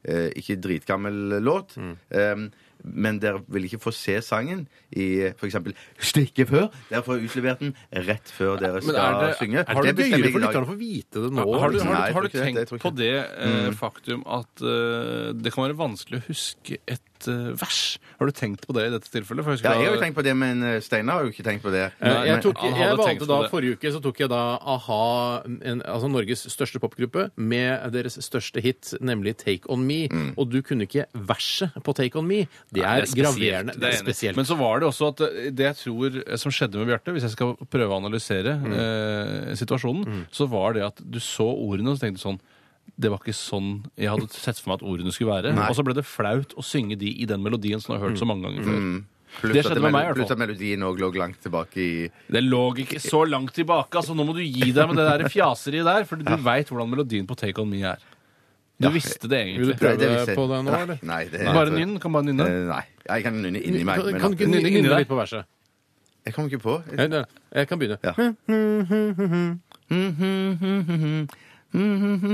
D: eh, ikke dritgammel låt.
C: Mm.
D: Eh, men dere vil ikke få se sangen i f.eks. Stikke før. Dere får utlevert den rett før dere skal synge.
B: Har du
D: bestemmer
B: gøyere
D: jeg i
B: for
D: dag.
B: lytterne å få vite det nå?
C: Har du, har du,
D: Nei,
C: har
D: jeg tror
C: du
D: ikke det.
C: tenkt
D: Jeg Mm. tror ikke
C: på det eh, faktum at eh, det kan være vanskelig å huske et eh, vers? Har du tenkt på det i dette tilfellet? For jeg husker
D: Ja, jeg har jo
C: da-
D: tenkt på det, men eh, Steinar har jo ikke tenkt på det.
B: Eh,
D: Men-
B: jeg, tok,
C: han
B: jeg
C: hadde tenkt
B: valgte
C: på
B: da
C: det.
B: Forrige uke så tok jeg da a-ha, en, altså Norges største popgruppe, med deres største hit, nemlig Take On Me. Og du kunne ikke verset på Take On Me. Det
C: Nei,
B: er,
C: spesielt.
B: graverende. Det er
C: enig.
B: spesielt.
C: Men så var det også at eh, det jeg tror eh, som skjedde med Bjarte, hvis jeg skal prøve å analysere
D: Mm.
C: eh, situasjonen, så var det at du så ordene og så tenkte du sånn det var ikke sånn jeg hadde sett for meg at ordene skulle være. Og så ble det flaut å synge de i den melodien som du
D: Mm.
C: har hørt så mange ganger før.
D: Pluss
C: Det
D: at
C: skjedde med meg, i
D: mel-
C: hvert
D: Pluss
C: fall.
D: at melodien òg lå langt tilbake i
C: Det lå ikke så langt tilbake. altså Nå må du gi deg med det der fjaseriet der, for du vet veit hvordan melodien på Take On Me er. Du visste det altså.
B: Vil du
C: egentlig.
B: prøve
D: Nei, visste jeg-
B: på det nå,
D: Nei,
B: eller?
D: Nei, det
C: Bare nynn. Kan bare nynne.
D: Eh, Nei. Jeg kan nynne inni meg.
B: Kan
D: Men
B: kan ikke
D: at-
B: du
C: Nynne inni
B: nynne
C: deg.
B: litt på verset?
D: jeg kom ikke på.
B: Jeg, nei, jeg kan begynne.
D: Ja.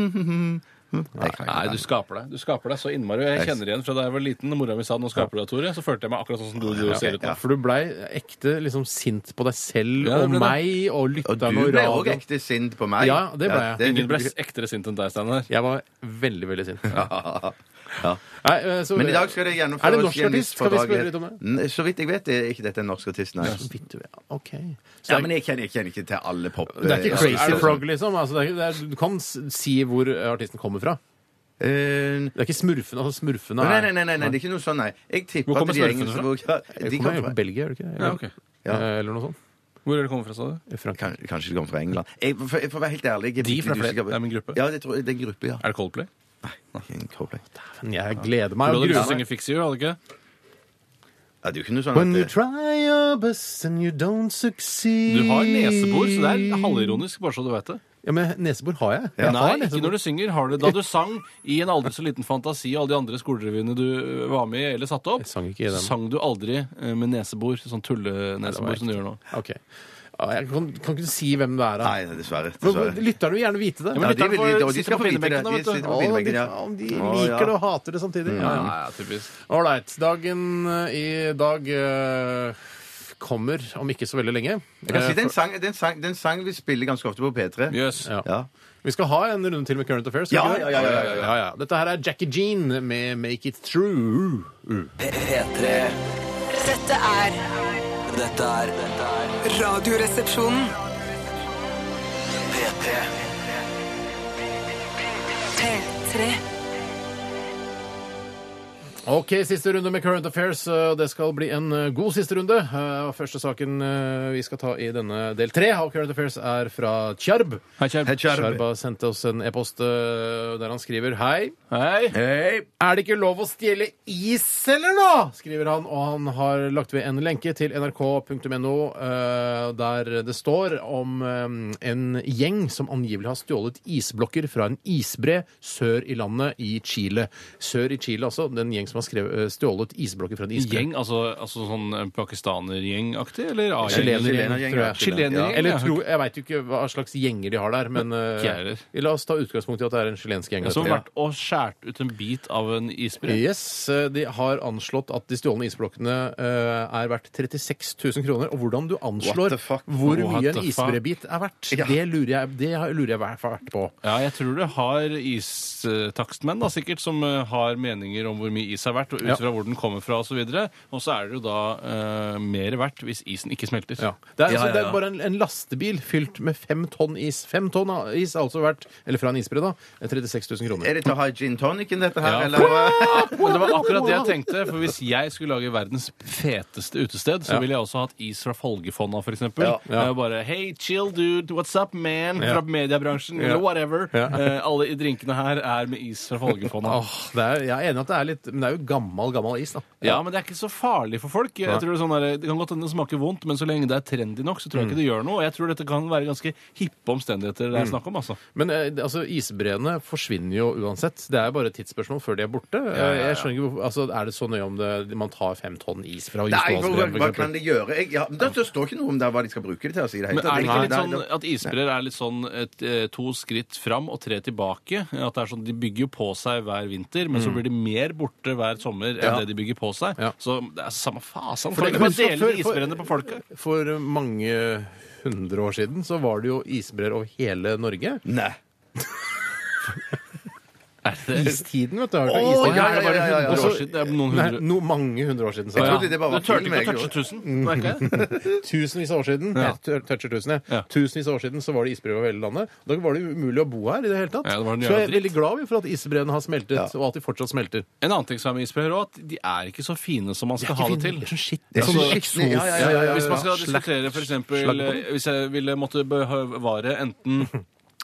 D: Jeg kan ikke.
C: Nei, du skaper deg. Du skaper deg så innmari. Jeg kjenner igjen fra da jeg var liten og mora mi sa 'nå skaper du deg, Tore', så følte jeg meg akkurat sånn som du, du ser ut nå.
D: Ja.
B: For du blei ekte liksom sint på deg selv
C: Ja, det
B: og
C: ble det.
B: meg og
D: Og du
B: lytterne og
D: ble òg
B: radioen.
D: ekte sint på meg.
B: Ja, det ble jeg.
C: Ingen ble ektere sint enn deg, Steinar.
B: Jeg var veldig, veldig sint.
D: Ja.
B: Nei, eh, så-
D: Men i dag skal det gjennomføres
B: Er det norsk
D: i en viss
B: artist? Skal vi spørre
D: fordragelighet.
B: litt om det?
D: N- Så vidt jeg vet, er ikke dette en norsk artist, nei.
B: Vidt du vet. OK. Så
D: Ja, men jeg kjenner, jeg kjenner ikke til alle pop...
B: Det er ikke
D: eh,
B: Crazy
D: artister.
B: Frog,
C: sånn?
B: liksom. Altså, det er, ikke- det er, du kan s- si hvor eh, artisten kommer fra.
D: Eh,
B: Det er ikke smurfene. altså smurfene
D: Nei,
B: er...
D: nei, nei, nei, nei, det er ikke noe sånn, nei. Jeg tipper
C: Hvor kommer
D: at de
C: smurfene
D: engelske
C: fra?
D: boka
B: De
D: de
B: kommer
D: kan
B: jo fra Belgia, gjør de ikke det?
C: Ja, ok.
D: Ja.
B: Eh, Eller noe sånt.
C: Hvor er det kommet fra, sa du?
B: Eh, Frankrike.
D: kan, Kanskje de kommer fra England. Jeg, for, jeg, for å være helt ærlig
C: De
D: jeg, litt
C: fra flere.
D: usikker på-
C: Det er min gruppe.
D: Ja, det tror jeg, det er en gruppe, ja.
C: Er det Coldplay?
D: Ikke en Coldplay.
B: Men jeg gleder meg.
C: Du
B: og
C: hadde lyst til å
B: gruer meg.
C: synge Fix You, hadde du ikke?
D: ja, det er jo ikke noe sånn
B: When
D: at
B: you
D: eh,
B: try your best and you don't succeed
C: Du har nesebor, så det er halvironisk, bare så du vet det.
B: Ja, men nesebor har jeg. jeg
C: Nei,
B: har
C: ikke
B: nesebor.
C: når du synger. Har du, da du sang i en aldri så liten fantasi og alle de andre skolerevyene du ø, var med i eller satte opp,
B: Jeg sang ikke i dem.
C: sang du aldri ø, med nesebor. Sånn tullenesebor som du gjør nå.
B: Ok. Ja, Jeg kan, kan ikke si hvem det er. Da.
D: Nei, dessverre.
B: Men
D: dessverre.
B: Lytterne vil gjerne vite det.
C: altså- men
D: Ja, de,
C: lytterne
D: vil-
C: får
D: de, og de
C: sitte
D: skal
C: på
D: få vite det.
C: pinnebenken, da,
D: De
C: vet du. Mm.
D: sitter på
B: Å, de,
D: pinnebenken, ja.
B: om de
D: Å, ja.
B: liker det og hater det samtidig. Ja, ja.
C: Ja, typisk.
B: Ålreit. Dagen i dag eh, kommer om ikke så veldig lenge.
D: Jeg kan si,
B: Eh,
D: det er en sang, det er en sang, det er en sang vi spiller ganske ofte på P3.
C: Jøss.
B: Ja.
D: Ja.
B: Vi skal ha en runde til med Current Affairs. skal
D: Ja,
B: vi ikke det?
D: ja, ja, ja, ja, ja.
B: Dette her er Jackie Jean med Make It True.
E: P3
G: Dette er
E: Dette er dette er
G: Radioresepsjonen.
E: P3
G: P3.
B: Ok, siste runde med Current Affairs. eh, og Det skal bli en eh, god siste runde. Eh, og Første saken eh, vi skal ta i denne del tre av Current Affairs, er fra Tjarb.
C: Hei, Kjell.
D: Hei, Tjarb.
B: Tjarb har sendt oss en e-post eh, der han skriver Hei.
C: Hei.
D: Hei.
B: Er det ikke lov å stjele is, eller noe? skriver han, og han har lagt ved en lenke til nrk.no eh, der det står om eh, en gjeng som angivelig har stjålet isblokker fra en isbre sør i landet i Chile. Sør i Chile, altså. Den gjeng som har skrevet, eh, stjålet isblokker fra en isbre.
C: Gjeng? Altså, altså sånn eh, pakistanergjengaktig? Eller A-gjeng?
B: Chilenergjeng,
D: Chilenergjeng,
B: tror
D: ja.
B: jeg.
C: Chilenergjeng,
B: Ja.
C: ja.
B: Eller tro, jeg veit jo ikke hva slags gjenger de har der, men
C: Ikke jeg heller.
B: eh, la oss ta utgangspunkt i at det er en chilensk gjeng.
C: Som
B: dette.
C: har vært og skåret ut en bit av en isbre?
B: Yes, eh, De har anslått at de stjålne isblokkene eh, er verdt 36 000 kroner. Og hvordan du
D: What
B: anslår
D: the fuck?
B: hvor
C: What
B: mye en
C: the fuck?
B: isbrebit er verdt,
D: Ja.
B: det lurer jeg, det har- lurer jeg hvert hvert på.
C: Ja, jeg tror det har istakstmenn da, sikkert, som eh, har meninger om hvor mye is er verdt, og ut
B: Ja.
C: fra hvor den kommer fra osv. Og så er det jo da eh, mer verdt hvis isen ikke smelter.
B: Ja. Det, er,
C: Ja,
B: altså,
C: ja,
B: det er
C: ja.
B: bare en, en lastebil fylt med fem tonn is. Fem tonn av is er altså verdt, eller fra en isbre, da, 36 000 kroner.
D: Er det til å ha gin tonicen, dette her?
C: Ja.
D: Eller hva?
C: Men det var akkurat det jeg tenkte, for hvis jeg skulle lage verdens feteste utested, så
B: Ja.
C: ville jeg også hatt is fra Folgefonna, for eksempel.
D: Ja.
C: Det er jo Bare Hey, chill dude, what's up man?
B: Ja.
C: Fra mediebransjen, eller whatever. Eh, alle i drinkene her er med is fra Folgefonna.
B: Åh, det er, jeg er enig at det er litt Men det er jo gammel, gammel is, da.
C: Ja, men det er ikke så farlig for folk. Jeg
B: Nei.
C: tror Det er sånn der, det kan godt hende det smaker vondt, men så lenge det er trendy nok, så tror jeg ikke det gjør noe. Og jeg tror dette kan være ganske hippe omstendigheter det er snakk om, altså.
B: Men eh, det- altså, isbreene forsvinner jo uansett. Det er jo bare et tidsspørsmål før de er borte. Eh,
C: ja, ja.
B: Jeg skjønner ikke hvorfor, altså, Er det så nøye om det, man tar fem tonn is fra
D: Nei, hva,
B: Jostedalsbreen, for
D: hva kan
B: eksempel?
D: de gjøre? Jeg, ja, men da, da står ikke noe om det, hva de skal bruke det til. å si det
C: Men
D: hele
C: er det
D: tatt.
C: ikke litt
D: Nei,
C: sånn
D: nei,
C: at isbreer er litt sånn et, eh, to skritt fram og tre tilbake? At det er sånn, De bygger jo på seg hver vinter, men så blir de mer borte hver sommer enn
D: Ja.
C: det de bygger på seg.
B: Ja.
C: Så det er samme fasen.
B: For
C: For
B: det-
C: ikke bare
B: husk at
C: dele
B: før-
C: de isbreene på folket.
B: For mange hundre år siden så var det jo isbreer over hele Norge.
D: Nei.
C: Er det
B: Istiden, vet du. har du hørt om
D: Å,
B: istiden?
D: ja, ja, ja, ja, ja.
B: Og
C: Hundre
B: så-
C: år siden, det er noen
B: Nei,
C: hundre.
B: no, mange hundre år siden. sa
D: Jeg
B: jeg.
D: trodde det bare
C: Du
D: var
C: turte
D: film, jeg,
C: ikke å touche 1000, merka jeg.
B: Tusenvis av år siden.
C: Ja.
B: Jeg tør- toucher tusen, jeg.
C: Ja.
B: Tusenvis av år siden så var det isbreer over hele landet. Da var det jo umulig å bo her i det hele tatt.
C: Ja, det var
B: så
C: en
B: jeg er
C: jævla dritt.
B: veldig glad for at isbreene har smeltet,
D: Ja.
B: og at de fortsatt smelter.
C: En annen ting som er med isbreer òg, at de er ikke så fine som man skal ha det til.
B: Det er sånn skitt.
D: Det er
B: Sånn
D: så skikkelig, ja, ja, ja, ja, ja.
C: Hvis man skal
B: Slakt-
C: diskutere for
B: slakt
C: eksempel
B: på den.
C: eh, Hvis jeg ville måtte bevare enten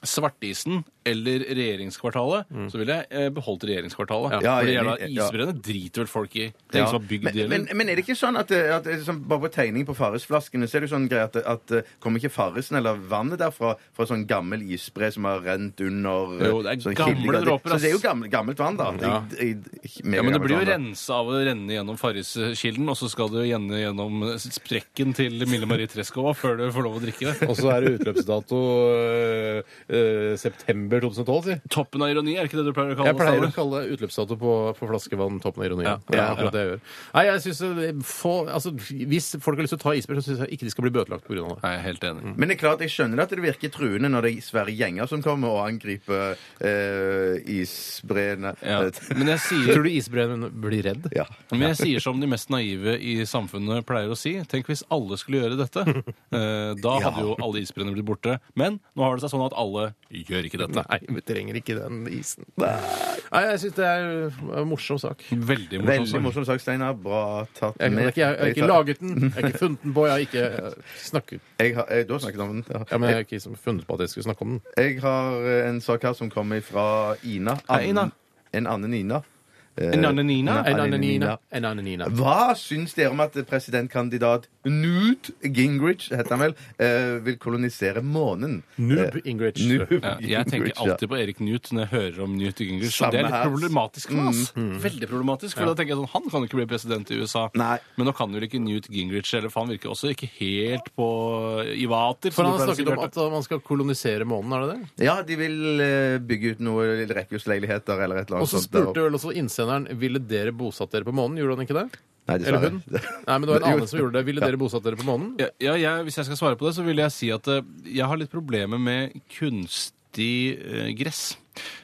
C: Svartisen eller regjeringskvartalet, så ville jeg eh, beholdt regjeringskvartalet.
D: Mm. Ja,
C: For de
D: jeg er
C: jævla
D: enig, ja.
C: isbreene driter vel folk i. Det er
D: Ja.
C: ingen som har bygd
D: men,
C: de
D: men,
C: heller.
D: men er det ikke sånn at, eh, at det er sånn, bare på tegning på Farrisflaskene så er det jo sånn greie at, at eh, kommer ikke Farrisen eller vannet derfra fra sånn gammel isbre som har rent under eh,
C: Jo, det er
D: sånn
C: gamle
D: kildeganger?
C: dråper, ass.
D: Så det er jo gammel, gammelt vann, da. I- i- i-
C: Ja, men det
D: megagammelvann,
C: blir jo
D: da.
C: rensa av å renne gjennom Farriskilden, og så skal det jo renne gjennom eh, sprekken til Mille Marie Treskova før du får lov å drikke det.
B: Og så er det utløpsdato øh, øh, september 2012, si.
C: Toppen av ironi, er ikke det du pleier å kalle
B: Jeg
C: det?
B: pleier å
C: Steinar?
B: kalle det utløpsdato på, på flaskevann toppen av ironien.
C: Ja.
B: Det er akkurat det jeg gjør. Nei, jeg synes, eh, få, altså, Hvis folk har lyst til å ta isbjørn, så syns jeg ikke de skal bli bøtelagt pga. det.
C: Nei, jeg er helt enig.
D: Men det er klart, jeg skjønner at det virker truende når det er svære gjenger som kommer og angriper eh, isbreene.
C: Ja. Men jeg sier
B: Tror du isbreen blir redd?
D: Ja.
C: Men jeg sier som de mest naive i samfunnet pleier å si. Tenk hvis alle skulle gjøre dette. Eh, Da hadde jo alle isbreene blitt borte. Men nå har det seg sånn at alle gjør ikke dette.
B: Nei, vi trenger ikke den isen. Nei, jeg syns det er eh, en morsom sak. Jeg,
C: Veldig
D: Veldig
C: morsomt.
D: morsom sak, Steinar. Bra tatt
B: jeg, jeg,
D: med.
B: jeg har ikke
D: tar-
B: laget den, jeg har ikke funnet den på, jeg har ikke eh, snakket
D: jeg har, eh, Du har snakket om den. Ja.
B: ja, men jeg har ikke liksom funnet på at jeg skulle snakke om den.
D: Jeg har eh, en sak her som kommer fra Ina.
C: Hei, Ina.
D: En annen Ina. Eh,
C: En annen Nina?
D: En
B: En
D: annen
B: ananina.
D: Nina.
B: En ananina.
D: Hva syns dere om at presidentkandidat Newt Gingrich heter han vel, eh, vil kolonisere månen?
B: Noob Ingrid.
D: Eh, Newt
C: Ja, jeg tenker
D: Gingrich, ja.
C: alltid på Erik Newt når jeg hører om Newt Gingrich.
D: Samme
C: Og det er litt
D: her.
C: problematisk for oss. Veldig problematisk, for da tenker jeg sånn, Han kan jo ikke bli president i USA.
D: Nei.
C: Men nå kan jo ikke Newt Gingrich heller, for han virker også ikke helt på i vater.
B: For
C: som
B: han
C: du
B: har
C: pleier å si,
B: snakket om
C: Bjarte.
B: at uh, man skal kolonisere månen, er det det?
D: Ja, de vil eh, bygge ut noen rekkehusleiligheter eller et eller
B: Og
D: annet
B: så
D: sånt. der
B: spurte vel også innsenderen ville dere bosatt dere på månen. Gjorde han ikke det?
D: Nei, dessverre.
B: Eller hun? Nei, men det var en annen som gjorde det. Ville dere bosatt dere på månen?
C: Ja, ja jeg, hvis jeg skal svare på det, så vil jeg si at eh, jeg har litt problemer med kunstig eh, gress.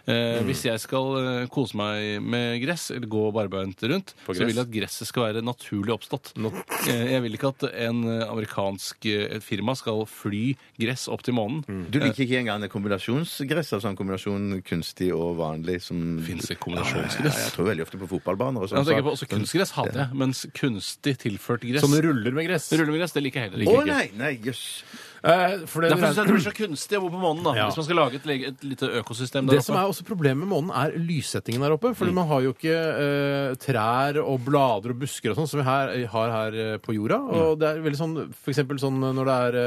C: Eh,
B: Mm.
C: Hvis jeg skal eh, kose meg med gress, eller gå barbeint rundt, så
B: gress?
C: vil jeg at gresset skal være naturlig oppstått. Eh, jeg vil ikke at en eh, amerikansk eh, et firma skal fly gress opp til månen.
B: Mm.
D: Du liker ikke engang det kombinasjonsgress? Altså en kombinasjon kunstig og vanlig som
C: Fins det
D: Ja, ja,
C: kombinasjonsgress?
D: jeg tror veldig ofte på fotballbaner og
C: Jeg
D: sånn.
C: tenker på, også kunstgress hadde jeg, mens kunstig tilført gress
B: Altså, Som ruller med gress?
C: Ruller med gress, det liker jeg heller
D: Å
C: ikke.
D: nei! Nei, jøss.
B: Eh, for det,
C: Derfor syns jeg det blir så kunstig å bo på månen, da.
B: Ja.
C: Hvis man skal lage et, lege- et lite økosystem der
B: det som
C: oppe.
B: er også problemet med månen, er lyssettingen der oppe. For man har jo ikke eh, trær og blader og busker og sånn som vi her, har her eh, på jorda. Og det er veldig sånn for eksempel sånn når det er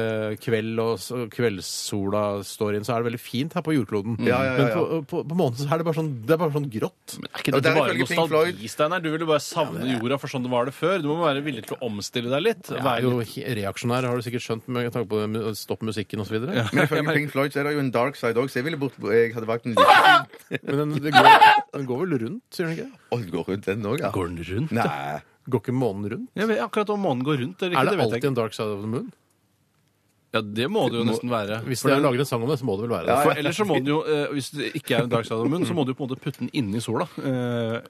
B: eh, kveld og s- og kveldssola står inn, så er det veldig fint her på jordkloden.
D: Ja, ja, ja, ja.
B: Men på, eh, på, på månen så er det bare sånn, det er bare sånn grått.
C: Men er ikke
D: Og
C: dette
D: der
C: bare
D: ifølge Pink Floyd-
C: nostalgi, Steinar? Du vil jo bare savne jorda for sånn det var det før. Du må være villig til å omstille deg litt.
B: Jeg
C: Være
B: er jo he- reaksjonær, har du sikkert skjønt, med tanke på det med stopp musikken osv. videre
D: Men ifølge Pink Floyd så er det jo en dark side òg, så jeg ville bort Jeg hadde valgt en liten
B: Men den, det går, den går vel rundt, sier den ikke? det?
D: Å, den går rundt den òg, ja.
C: Går den rundt?
D: Nei.
B: Går ikke månen rundt?
C: Jeg vet akkurat om månen går rundt eller ikke.
B: Er det
C: det vet jeg
B: alltid
C: ikke.
B: en dark side of the moon?
C: Ja, det må det jo nesten være.
B: Hvis
C: For
B: de har
C: den-
B: laget en sang om det, så må det vel være det.
D: Ja,
C: For ellers så må den jo, eh, hvis det ikke er en dark side of the moon, så må du jo på en måte putte den inni sola. Eh,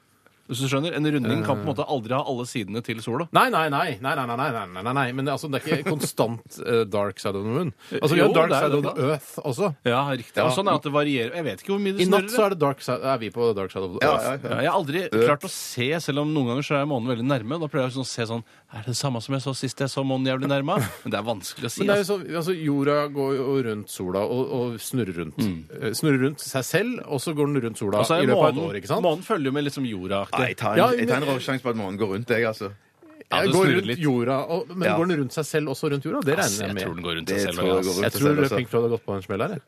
C: hvis du skjønner, En runding kan på en måte aldri ha alle sidene til sola.
B: Nei, nei, nei, nei, nei, nei, nei, nei, nei, nei, nei. Men det, altså, det er ikke konstant eh, dark side of the moon. Altså, vi
C: Jo,
B: har dark
C: det er
B: side
C: det
B: of the earth også.
C: Ja, riktig. Og sånn er at det varierer. Jeg vet ikke hvor mye det
B: I natt så
C: snurrer.
B: er, det dark side, er vi på dark side of the
D: Ja,
B: earth.
D: ja,
C: Ja,
D: ja.
C: jeg har aldri klart å se, selv om noen ganger så er månen veldig nærme. Da pleier jeg sånn å se sånn Er det det samme som jeg så sist jeg så månen jævlig nærme? Men det er vanskelig å si.
B: Men det er jo
C: Altså.
B: så, altså, jorda går jo rundt sola og, og snurrer rundt. Eh, Snurrer rundt seg selv, og så går den rundt sola
C: Mm. Og så
B: i
C: er
B: løpet av et
C: Altså, månen,
B: år. ikke sant?
C: månen følger jo med litt som jorda-aktig.
D: Nei, jeg tar
B: Ja,
D: en, jeg tar en
B: men-
D: råsjanse på at månen går rundt, jeg,
C: Ja,
D: altså.
B: Jeg
C: det
B: går
C: snurrer
B: rundt
C: litt.
B: jorda, og, men
D: Ja.
B: går den rundt seg selv også rundt jorda? Det regner
C: Ass, jeg
B: jeg med.
C: tror den går rundt
D: Det
C: seg selv.
D: tror jeg
C: ass.
D: går rundt.
B: Jeg
D: seg
B: tror
D: selv også.
B: Pink Floyd har gått på en smell her. jeg.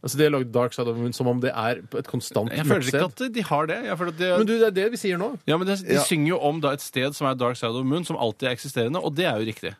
B: Altså, De har lagd Dark Side of the Moon som om det er et konstant
C: Jeg føler ikke
B: mørksted.
C: at de har det. Jeg føler at de,
B: Men du, det er det vi sier nå.
C: ja, men de, de
D: Ja.
C: synger jo om da et sted som er Dark Side of the Moon, som alltid er eksisterende, og det er jo riktig.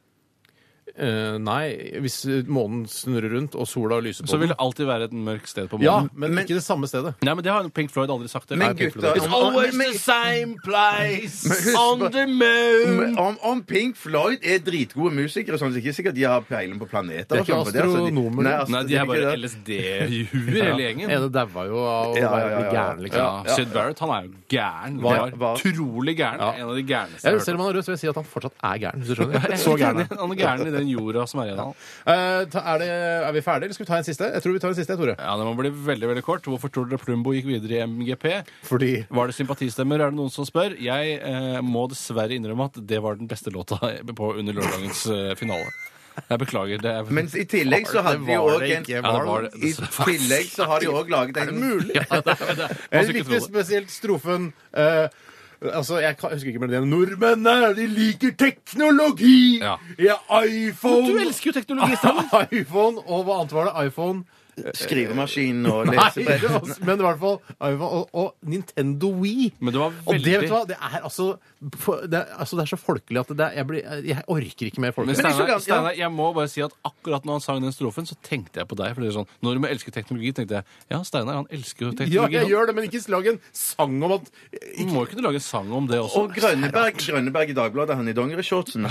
B: Eh, nei, hvis eh, månen snurrer rundt og sola lyser på
C: Så vil
B: den.
C: det alltid være et mørkt sted på
B: Ja,
C: månen.
B: men,
D: Men-
B: ikke det samme stedet.
C: Nei, men det har Pink Floyd aldri sagt. eller? Nei,
D: Men
C: Pink
D: gutta-
C: Floyd. It's always the same
D: Men
C: place
D: husk
C: on
D: på-
C: the moon.
D: Men Om, om Pink Floyd er dritgode musikere, sånn, så er det ikke sikkert de har peiling på planeter.
B: er
D: og
B: ikke
D: sånn, for det, altså, de-
B: astronomer.
D: altså,
C: Nei,
D: det
C: de er
D: ikke
C: bare
D: det.
C: LSD-huer, hele gjengen.
B: Ene daua jo av å
D: Ja, ja,
B: være
D: ja, ja, ja.
B: gæren, liksom.
C: Ja, Syd Barrett han er jo gæren.
D: Hva-
C: Han var
D: hva-
C: utrolig gæren.
B: Ja.
C: En av de
B: Jeg,
C: gærneste jeg
B: vil- selv
C: har hørt.
B: om han er rød, så vil jeg si at han fortsatt er gæren. Hvis du skjønner.
C: Jeg
B: Så
C: er
B: gæren
C: enig.
B: er han.
C: Han er gæren i den jorda som er igjen av han.
B: Eh, ta- er, det, er vi ferdige, eller skal vi ta en siste? Jeg tror vi tar en siste, Tore.
C: Ja, det må bli veldig, veldig kort. Hvorfor tror dere Plumbo gikk videre i MGP?
B: Fordi
C: Var det sympatistemmer, er det noen som spør? Jeg eh, må dessverre innrømme at det var den beste låta på under lørdagens eh, finale. Jeg beklager. det er...
D: Men i tillegg så hadde de jo
B: var
D: òg
B: det
D: en
B: ikke,
C: var det- det-
D: I tillegg så har de òg laget en
B: Mulig!
C: Ja, det, er- det, er- man
B: Jeg
C: skal ikke tro
B: likte
C: det.
B: spesielt strofen eh, Altså, jeg, kan, jeg husker ikke melodien. Nordmennene, de liker teknologi!
C: Ja.
B: iPhone!
C: Du elsker jo teknologi! Stein.
D: sånn.
B: iPhone, og hva annet var det? iPhone?
D: skrivemaskin og
B: Nei,
D: lesebrett.
B: men i hvert fall iPhone og, og Nintendo Wii.
C: Men det var
B: Og det, vet
C: veldig
B: du hva, det er altså for- det er, altså, det er så folkelig at det er, jeg, blir, jeg orker ikke mer
C: Men
B: folkelig.
D: det er så
C: Steinar,
D: gans-
C: Steinar, jeg må bare si at akkurat når han sang den strofen, så tenkte jeg på deg. For det er sånn, Når du må elske teknologi, tenkte jeg. Ja, Steinar, han elsker jo
B: Ja,
C: teknologi.
B: jeg gjør det, men ikke lag en sang om at
C: Han må jo kunne lage en sang om det også.
D: Og Grønneberg, Grønneberg i Dagbladet, han i dongerishortsen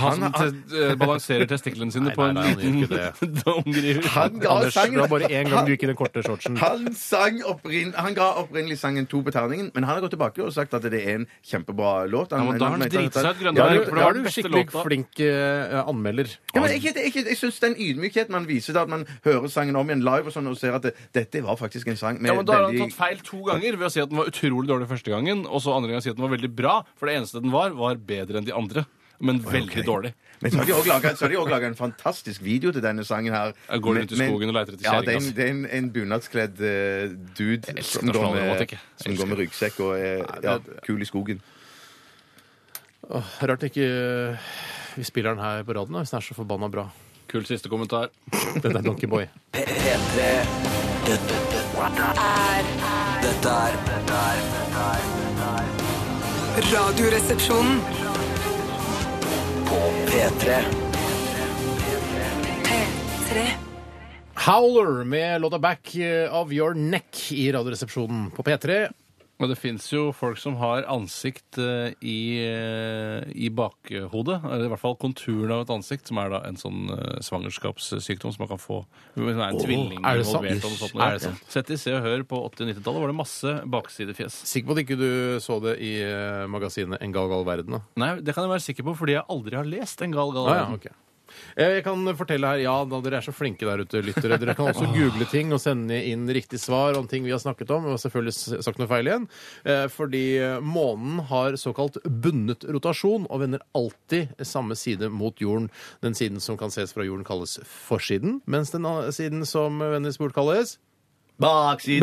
C: han som
D: han, han,
C: te- eh, balanserer testiklene sine
B: Nei,
C: på
B: nei,
C: en
B: nei, han gjør ikke
C: liten dongeri.
D: han ga
B: Anders, det
D: sangen
B: var bare én gang du gikk i den korte shortsen.
D: han, sang opprin, han ga opprinnelig sangen to på terningen, men han har gått tilbake og sagt at det er en kjempebra låt.
C: Ja, men da har han
D: mente at-
C: driti seg
B: Da
C: ut, Grønneberg.
B: er du,
C: for det
B: da
C: var
B: er
C: den
B: du
C: beste
B: skikkelig
C: låta.
B: flink eh, anmelder.
D: Ja, men jeg, jeg, jeg, jeg syns den ydmykheten man viser da, at man hører sangen om igjen live og sånn, og ser at det, dette var faktisk en sang med
C: Ja, men Da har han
D: veldig
C: tatt feil to ganger ved å si at den var utrolig dårlig første gangen, og så andre gangen si at den var veldig bra, for det eneste den var, var bedre enn de andre. Men veldig dårlig.
D: Men så har de også laget- så har de òg laga en fantastisk video til denne sangen her.
C: Jeg går rundt i
D: Men-
C: skogen og leter etter
D: Ja,
C: kjerringa,
D: det er en,
C: altså.
D: det er en, en bunadskledd eh, dude
C: elsker
D: som går,
C: nasjonalromantikk,
D: med,
C: jeg. Jeg
D: som går med ryggsekk og er ja, kul i skogen.
B: Rart ikke eh, vi spiller den her på radioen, da, hvis den er så forbanna bra.
C: Kul siste kommentar.
B: Dette er Donkey Boy.
E: P- P3 Dette
G: er
E: dette er dette er-
G: Radioresepsjonen.
E: På P3
G: P3.
B: Howler med låta 'Back eh, of Your Neck' i Radioresepsjonen på P3.
C: Og det fins jo folk som har ansikt eh, i, eh, i bakhodet. Eller i hvert fall konturen av et ansikt, som er da en sånn eh, svangerskapssykdom som man kan få. Som er en tvilling
B: er det sant?
C: involvert og noe sånt.
B: Er det sant?
C: Sett i Se og Hør på 80- og 90-tallet var det masse baksidefjes.
B: Sikker på at ikke du så det i eh, magasinet En gal gal verden? da?
C: Nei, det kan jeg være sikker på fordi jeg aldri har lest en gal gal.
B: Ah, ja,
C: verden.
B: ok. Eh, Jeg kan fortelle her, ja, da dere er så flinke der ute, lyttere. Dere kan også google ting og sende inn riktig svar om ting vi har snakket om, og selvfølgelig s- sagt noe feil igjen. Eh, Fordi månen har såkalt bundet rotasjon og vender alltid samme side mot jorden. Den siden som kan ses fra jorden kalles forsiden, mens den a- siden som vendes bort kalles
D: Baksiden.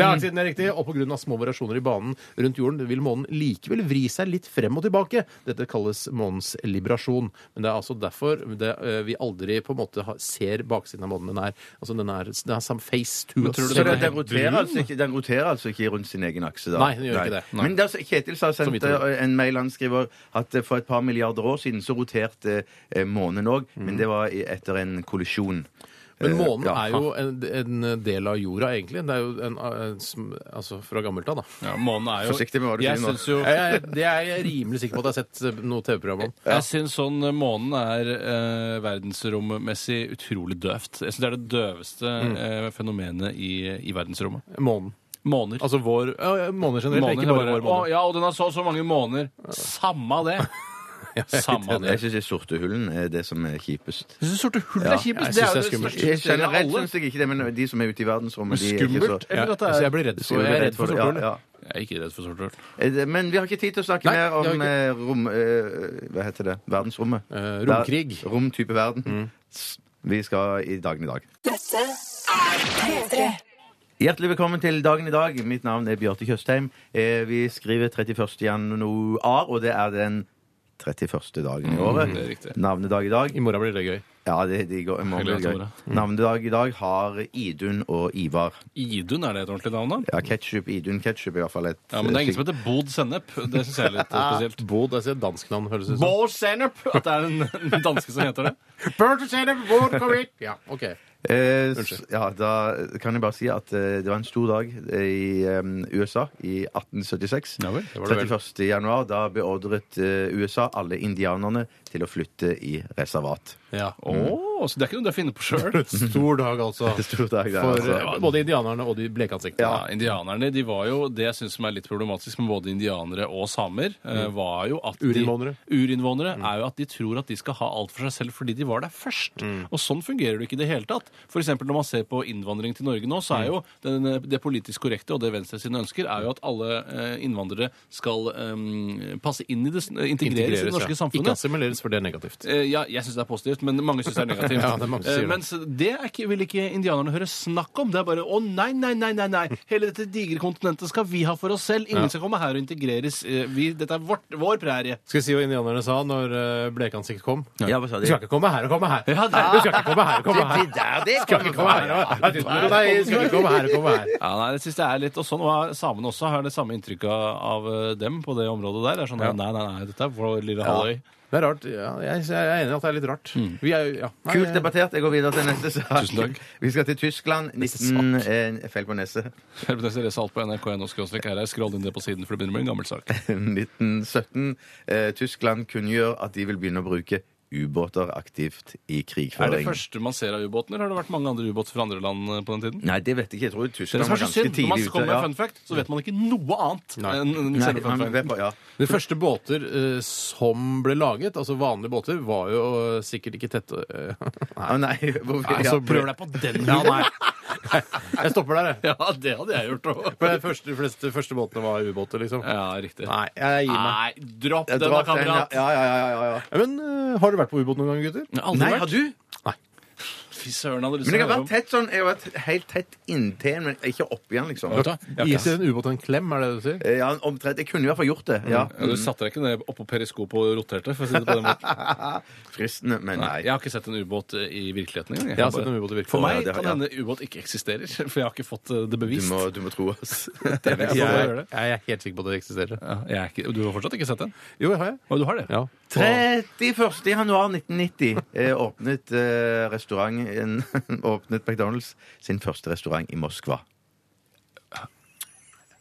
C: Mm.
B: Baksiden er riktig, og pga. små variasjoner i banen rundt jorden vil månen likevel vri seg litt frem og tilbake. Dette kalles månens librasjon. Men det er altså derfor det, eh, vi aldri på en måte har, ser baksiden av månen. Den er, altså den er, den er some face to
C: Men
B: us.
C: tror du
D: Så
C: det-
D: den,
C: helt
D: den, roterer
C: brun?
D: altså ikke, den roterer altså ikke rundt sin egen akse? da?
B: Nei, den gjør ikke det. Nei.
D: Men det er altså- Kjetil
B: vi
D: har sendt
B: tror.
D: eh, en mail han skriver at eh, for et par milliarder år siden så roterte eh, månen òg, men det var i- etter en kollisjon.
B: Mhm. Men
D: Eh,
B: månen
D: ja.
B: er jo en, en del av jorda, egentlig. Det er jo en, en, sm- altså fra gammelt av, da.
C: Ja, månen er jo
D: Forsiktig med hva du
C: Jeg
D: sier nå.
C: syns jo
B: Jeg, jeg, det er jeg rimelig sikker på at jeg har sett eh, noe TV-program om.
C: Jeg syns sånn eh, månen er eh, verdensrommessig utrolig døvt. Jeg syns det er det døveste eh, fenomenet i, i verdensrommet.
B: Månen.
C: Måner.
B: Altså vår ja, Måner generelt,
C: Måner
B: ikke bare
C: er
B: vår
C: bare,
B: måne.
C: Å, ja, og den har så og så mange måner. Samma det! Samma det.
D: Jeg syns sortehullen er eh, det som er kjipest.
C: Jeg syns sorte hull
D: Ja,
C: er kjipest.
B: jeg
C: Det
B: synes
C: er
B: det er
C: jo det
B: skummelt.
C: største stedet av
D: Generelt
C: alle.
D: syns jeg ikke det, men de som er ute i verdensrommet de er ikke
C: Skummelt?
D: så-
B: Ja,
C: Eller at det
B: så
C: er
B: jeg blir redd for,
D: Jo,
B: jeg
D: du
B: er redd for sorte
D: ja,
B: hull.
D: ja.
C: Jeg er ikke redd for sorte hull.
D: Eh, det- Men vi har ikke tid til å snakke
B: Nei,
D: mer
B: det har
D: om
B: vi
D: eh, rom... eh, Hva heter det? Verdensrommet.
B: Eh, romkrig.
D: Ver- Romtype verden.
C: Mm.
D: S- Vi skal i dagen i dag.
G: Dette er P3.
D: Hjertelig velkommen til dagen i dag. Mitt navn er Bjarte Tjøstheim. Eh, Vi skriver 31. januar, og det er den 31. dagen i året.
C: Mm, det er riktig.
D: Navnedag i dag.
B: I morgen blir det gøy.
D: Ja, det, de går, i morgen blir det
C: Hyggelig at Mm.
D: gøy.
C: det
D: Navnedag i dag har Idun og Ivar.
C: Idun, er det et ordentlig navn, da?
D: Ja, ketchup, Idun ketchup er i hvert fall et eh,
C: Ja, Men det er ingen som heter Bod sennep. Det syns jeg er litt eh, spesielt.
B: Bod, jeg sier dansk navn, høres det ut som.
C: Bod sennep! At det er en, en danske som heter det.
B: Ja, ok.
D: Eh, s- ja, da kan jeg bare si at eh, det var en stor dag i eh, USA i 1876.
C: Ja vel, det
B: var det vel.
D: 31. januar. Da beordret eh, USA alle indianerne til å flytte i reservat.
B: Ja.
C: Å, så det er ikke noe du har funnet på sjøl.
B: Stor dag, altså.
D: Det er stor dag, det er,
B: For
D: altså.
B: eh, både indianerne og de blekansiktene.
C: Ja. Indianerne de var jo det jeg synes som er litt problematisk med både indianere og samer, eh, var jo at de-
B: Mm. Urinnvånere. Mm.
C: Urinnvånere er jo at de tror at de skal ha alt for seg selv fordi de var der først.
B: Mm.
C: Og sånn fungerer det ikke i det hele tatt. For eksempel når man ser på innvandring til Norge nå,
B: Mm.
C: så er jo den, eh, det politisk korrekte og det venstresiden ønsker, er jo at alle eh, innvandrere skal eh, passe inn i det, s- integreres i det
B: ja.
C: norske
B: Ikke
C: samfunnet.
B: assimileres, for det er negativt.
C: Eh, Ja, jeg syns det er positivt, men mange syns det er negativt.
B: Ja, det er mange som sier det.
C: Eh, Mens det er ikke, vil ikke indianerne høre snakk om. Det er bare å nei, nei, nei, nei, nei. hele dette digre kontinentet skal vi ha for oss selv. Ingen skal komme her og integreres. Eh, Vi, dette er vårt, vår prærie.
B: Skal vi si hva indianerne sa når eh, blekansikt kom?
D: Ja, hva sa
B: Du
D: de?
B: skal ikke komme her og komme her!
C: Ja, det er-
B: Du skal ikke komme her og komme her!
D: Det der, det
B: Skal ikke komme her og Nei, du skal ikke komme her og komme her!
C: Ja, nei, jeg synes det er litt, og sånn, og Samene også har det samme inntrykket av eh, dem på det området der. Det er sånn,
B: Ja.
C: Nei, nei, nei, dette er vår lille halvøy.
B: Det er rart. Ja, jeg, jeg er enig i at det er litt rart. Vi er, jo- ja. Nei,
D: Kult
B: jeg-
D: debattert. Jeg går videre til neste sak.
C: Tusen takk.
D: Vi skal til Tyskland. 19... Eh, feil på nese.
C: Hør på det, så leser alt på nrk.no. Skroll inn det på siden, for det begynner med en gammel sak.
D: 1917. Eh, Tyskland kunngjør at de vil begynne å bruke ubåter aktivt
C: Er
D: i
C: det
D: krigføring.
C: første man ser av ubåten, eller har det vært mange andre ubåter fra andre land eh, på den tiden?
D: Nei, det vet jeg ikke. Jeg tror
C: Det
D: Tyskland
C: som
D: var
C: er så
D: ganske
C: synd, når man
D: tidlig ute.
C: kommer med
D: ja.
C: fun fact, så vet man ikke noe annet
B: Nei.
C: enn enn
D: Nei,
C: selve
D: man
C: fun fact.
D: vet bare- ja.
B: De første båter eh, som ble laget, altså vanlige båter, var jo eh, sikkert ikke tette eh, Nei.
D: Å, nei, hvor vil jeg-
B: Altså,
C: Prøv deg på den
B: Ja,
C: hulen!
B: nei. Jeg stopper der, jeg.
C: Ja, det hadde jeg gjort òg.
B: For de første, de fleste første båtene var ubåter, liksom.
C: Ja, riktig.
B: Nei, jeg gir meg.
C: Nei, dropp
D: Jeg
C: den da,
D: drar til en-
C: kamerat!
D: Ja, ja, ja, ja, ja.
B: Men eh, har dere vært på ubåt noen gang, gutter?
C: Aldri
D: Nei,
C: vært.
D: har du?
C: Fy søren, hadde du
D: Men jeg har
C: sett
D: vært tett sånn, jeg har vært helt tett inntil en, men ikke opp igjen, liksom.
C: Vet du hva?
B: Gi til en ubåt en klem, er det det du sier?
D: Eh, Ja, omtrent. Jeg kunne i hvert fall gjort det. Ja.
C: Ja, du satte deg ikke ned oppå periskopet og roterte? for å si det på den måten.
D: Fristende, men nei.
C: Jeg har ikke sett en ubåt i virkeligheten engang.
B: Jeg har sett en ubåt i virkeligheten.
C: For meg
D: Ja, det har-
C: kan hende ubåt ikke eksisterer, for jeg har ikke fått eh, det
D: Du
C: bevist.
D: må, du må tro oss.
C: Jeg,
B: Jeg,
C: jeg,
B: jeg er helt sikker på at det eksisterer.
C: jeg er ikke, du har fortsatt ikke sett den?
B: Jo, jeg har jeg.
C: Å, du har det?
B: Ja.
D: 31. januar 1990 eh, åpnet eh, restauranten Åpnet McDonald's sin første restaurant i Moskva.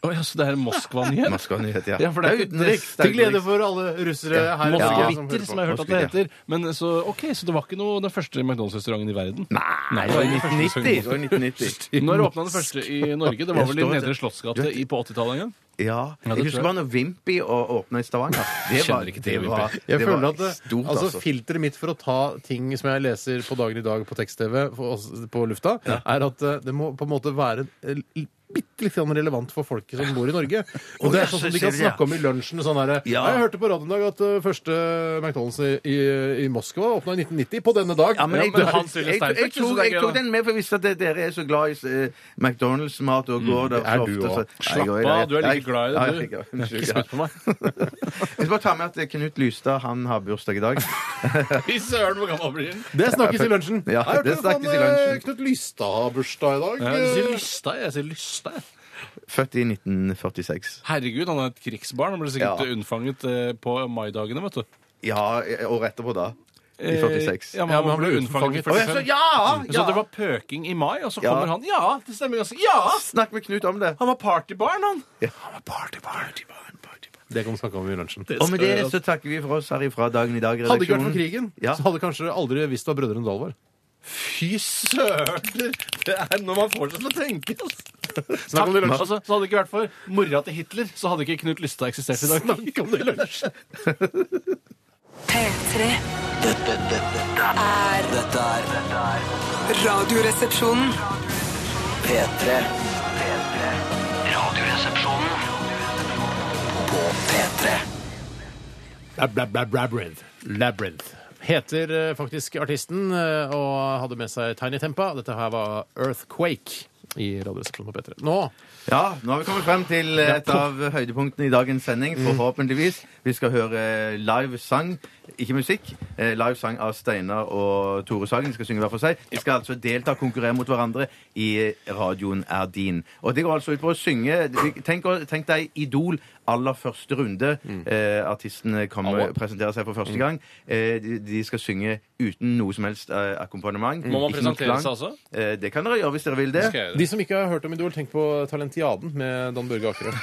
C: Å, ja, så det er Moskva-nyhet?
D: Moskva-nyhet, ja.
C: Ja, for det er
D: utenriks.
B: Til glede for alle russere her. i Norge som hører
C: Moskvitter,
B: på.
C: som jeg har hørt at det
D: Moskvitter.
C: heter. Men så, ok, så det var ikke noe den første McDonald's-restauranten i verden?
D: Nei, det var i 1990. Det var i 1990.
C: Når åpna den første i Norge? Det var vel i
D: Jeg står-
C: Nedre Slottsgate i- på 80-tallet en gang?
D: Ja.
C: det
D: Jeg
C: tror jeg.
D: husker bare når Vimpy å- åpna i Stavanger. Det
C: Kjenner ikke til
D: det
C: Wimpy.
D: var,
B: Jeg
D: det
B: føler
D: var
B: at det,
D: stort,
B: altså,
D: altså.
B: Filteret mitt for å ta ting som jeg leser på dagen i dag på tekst-TV for oss- på lufta, er at eh, det må på en måte være eh, l- bitte litt grann relevant for folket som bor i Norge. Og det
D: ja,
B: er sånn
D: så
B: som de kan
D: ser vi, ja.
B: snakke om i lunsjen. Sånn der,
D: Ja.
B: «Nei, Jeg hørte på radioen i dag at eh, første McDonald's i, i, i Moskva åpna i 1990 på denne dag.
D: Ja, men jeg,
C: men
D: jeg,
C: Hans Lille
D: jeg,
C: Steinfeld
D: jeg,
C: synes
D: tok,
C: det er
D: jeg
C: gøy,
D: tok
C: da.
D: den med, for jeg visste at det- dere er så glad i eh, McDonald's-mat og går der
B: det er
D: så
B: du
D: ofte, så-
B: også.
D: Nei, jeg-
C: Slapp Mm. av, du er
D: jeg-
C: like glad i det,
D: Ja,
C: du.
D: jeg- jeg- unnskyld,
B: Ikke
D: ja.
B: spytt på meg.
D: Jeg skal bare ta med at eh, Knut Lystad han har bursdag i dag.
C: Fy søren, hvor gammel blir den?
B: Det snakkes i lunsjen.
D: Ja,
B: Jeg hørte
D: det
B: faen,
D: snakkes i
B: eh,
D: lunsjen.
B: Knut Lystad har bursdag i dag.
C: Jeg sier
B: eh.
C: lysta, jeg. jeg sier lysta. jeg.
D: Født i 1946.
C: Herregud, han er et krigsbarn. Han ble sikkert
D: Ja.
C: unnfanget eh, på maidagene, vet du.
D: Ja, året etterpå, da. I
C: Eh,
D: 46.
C: Ja, men
B: Ja,
C: han ble unnfanget i
D: Å, jeg så,
C: 45.
D: ja,
C: Så
D: ja!
C: det var pøking i mai, og så
D: Ja.
C: kommer han. Ja, det stemmer ganske. Ja!
D: Snakk med Knut om det.
C: Han var partybarn, han.
D: Han var partybarn. partybarn, partybarn.
B: Det kan vi snakke om i lunsjen.
D: Og med det så takker vi for oss her ifra Dagen i
B: Hadde det ikke vært
D: dag-redaksjonen.
B: for krigen,
D: Ja.
B: så hadde kanskje aldri visst hva Brødrene Dal var.
C: Fy søren! Det er når man får seg til å tenke. Altså.
B: Snakk om det i lunsjen.
C: Altså, så hadde det ikke vært for mora til Hitler, så hadde ikke Knut Lystad eksistert i dag.
B: Snakk om det i lunsjen.
G: P3
E: Dette, dette, dette er Dette er dette er
A: Radioresepsjonen.
E: P3. P3. Radioresepsjonen på P3.
B: Labyrinth. Labyrinth. Heter eh, faktisk artisten, eh, og hadde med seg Tiny Tempa. Dette her var Earthquake i Radioresepsjonen på P3. Nå
D: Ja, nå har vi kommet frem til eh, et av høydepunktene i dagens sending,
C: Mm.
D: forhåpentligvis. Vi skal høre eh, live sang, ikke musikk, eh, live sang av Steinar og Tore Sagen. De skal synge hver for seg. De skal altså delta og konkurrere mot hverandre i eh, Radioen er din. Og det går altså ut på å synge Tenk, å- tenk deg Idol aller første runde.
C: Mm.
D: Eh, artistene kommer, presenterer seg for første gang. Eh, de, de skal synge uten noe som helst eh, akkompagnement.
C: Mm. Må man
D: Ikke noe
C: presentere
D: klang.
C: seg også?
D: Eh, det kan dere gjøre hvis dere vil det.
B: De som ikke har hørt om Idol, tenk på Talentiaden med Dan Børge Akerø.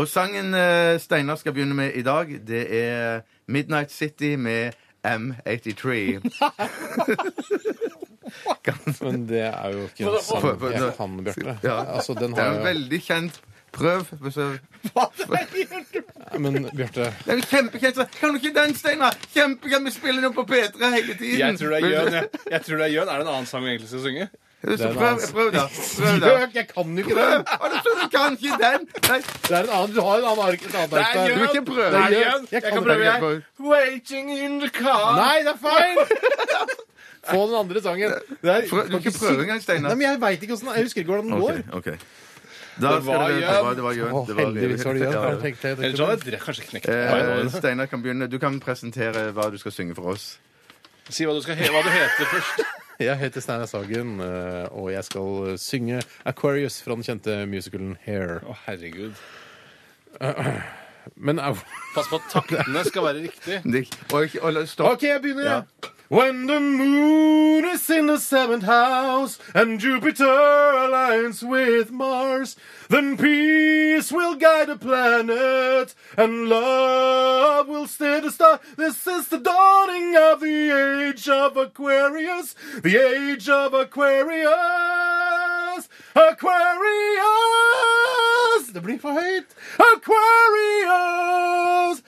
D: Og sangen eh, Steinar skal begynne med i dag, det er Midnight City med M83.
B: Men det er jo ikke en sang jeg kan, Bjarte.
D: Ja.
B: Altså, den
D: Det er
B: har
D: en
B: jo
D: veldig kjent prøv. hvis jeg-
B: Men Bjarte
D: Det er en kjempekjent sang. Kan du ikke den, Steinar? Kjempekjent. Vi spiller den jo på P3 hele tiden.
C: Jeg. tror det Er Jøn Er det en annen sang vi egentlig skal synge?
D: Så
B: er en
D: Prøv,
B: annen-
D: prøv da. Prøv da.
B: Bjørk, Jeg kan jo ikke den!
D: Å, du tror du kan ikke den? Nei,
B: Det er en annen, du har en annen ark. Et annet ark
D: du
B: der.
D: vil ikke prøve.
B: Det er Jørn. Jeg kan prøve, jeg.
C: Waiting in the car.
B: Nei, det er feil! Få den andre sangen. Det er,
D: Prøv- Du kan ikke prøve engang,
B: Nei,
D: Steinar.
B: men jeg vet ikke hvordan, jeg husker ikke hvordan den går.
D: Ok, ok.
C: Det
D: Da
C: var
D: skal det være-
C: Jørn.
D: det var- det var Jørn.
B: Å,
D: Det var
B: heldigvis var det
D: Ja, ja.
B: Jørn. Tenk, tenk,
C: Ellers
B: tenk.
C: hadde jeg kanskje knekt
D: Eh, Steinar kan begynne. Du kan presentere hva du skal synge for oss.
C: Si hva du, skal he hva du heter først.
B: Jeg heter Steinar Sagen, eh, og jeg skal eh, synge Aquarius fra den kjente musicalen Hair.
C: Å, herregud.
B: Men au.
C: Pass på at taktene skal være riktig.
D: Det, og, ikke- og, la- stopp.
B: OK, jeg begynner. jeg. When the moon is in the seventh house and Jupiter aligns with Mars, then peace will guide the planet and love will steer the star. This is the dawning of the age of Aquarius, the age of Aquarius, Aquarius. Det blir for høyt. Aquarius.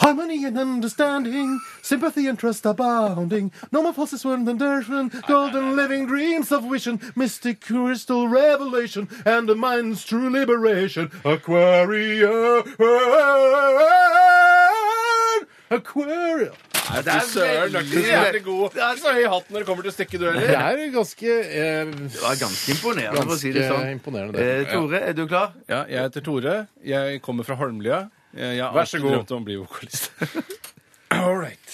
B: Harmony and understanding, sympathy and trust abounding. No more false swirl than dirtman, golden living dreams of vision, mystic crystal revelation, and the mind's true liberation. Aquarium! Aquarium!
C: Nei, fy søren, du er ikke så jævlig god. Det er så høy hatt når det kommer til stykkedueller.
B: Det er ganske eh,
D: Det var ganske imponerende, for å si det sånn.
B: imponerende.
D: Eh, Tore, er du klar?
C: Ja, jeg heter Tore. Jeg kommer fra Holmlia. Jeg har
B: Vær så
C: alltid
B: god.
C: drømt om å bli vokalist. All right.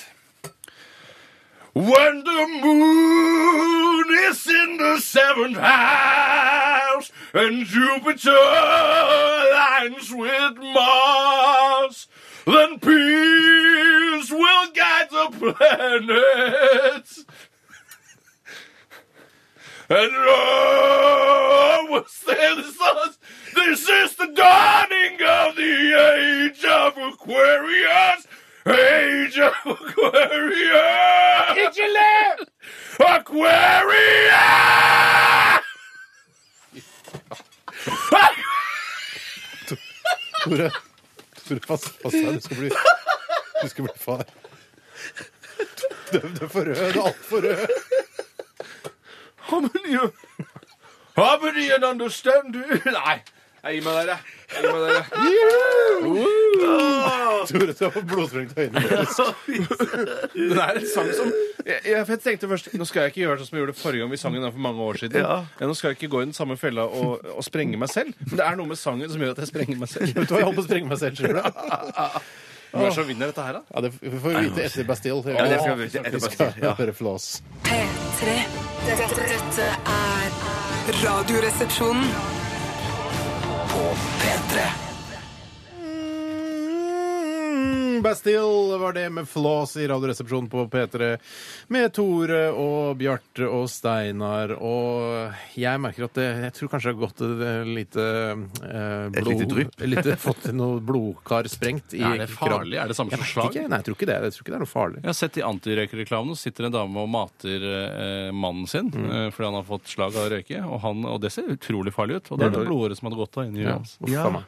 C: When the moon is in the seventh house and Jupiter aligns with Mars, then peace will guide the planets. And oh, the stars. This is the dawning of the age of Aquarius. Age of Aquarius. Did you live? Aquarius. Aquarius.
B: Tore, Tore pass, pass deg. Du skal bli, du skal bli far. Du, du er for rød. Du er altfor rød.
C: How many, how many you understand you? Nei, jeg gir meg dere. Jeg gir meg dere.
B: Tore, du har fått blodsprengt øyne.
C: Det er en sang som jeg, jeg, for jeg tenkte først, Nå skal jeg ikke gjøre sånn som jeg gjorde forrige gang vi sang den her for mange år siden.
D: Ja.
C: nå skal jeg ikke gå i den samme fella og, og sprenge meg selv. Men det er noe med sangen som gjør at jeg sprenger meg selv.
B: Vet du hva, jeg holdt på å sprenge meg selv. skjønner du?
C: Hvem er det som vinner dette her, da?
B: Ja, det får vi vite etter Bastille.
D: Ja, det skal vi vite etter
B: Vi skal
D: Bastille, ja.
B: høre flås.
G: P3. Dette, dette er Radioresepsjonen.
B: Mm, Bastille var det med flås i Radioresepsjonen på P3 med Tore og Bjarte og Steinar. Og jeg merker at det, jeg tror kanskje jeg har gått et lite eh,
D: Et
B: blod-
D: lite drypp.
B: lite- fått noe blodkar sprengt i
C: Er det farlig? Er det samme
B: Jeg
C: som
B: vet
C: slag?
B: ikke. Nei, jeg tror ikke det. Jeg tror ikke det er noe farlig.
C: Jeg har sett i antirøykereklamene så sitter en dame og mater eh, mannen sin eh, fordi han har fått slag av å røyke. Og, han, og det ser utrolig farlig ut. Og det er det blodåret som hadde gått av inni huet
B: Ja,
C: hans.
B: uff a meg.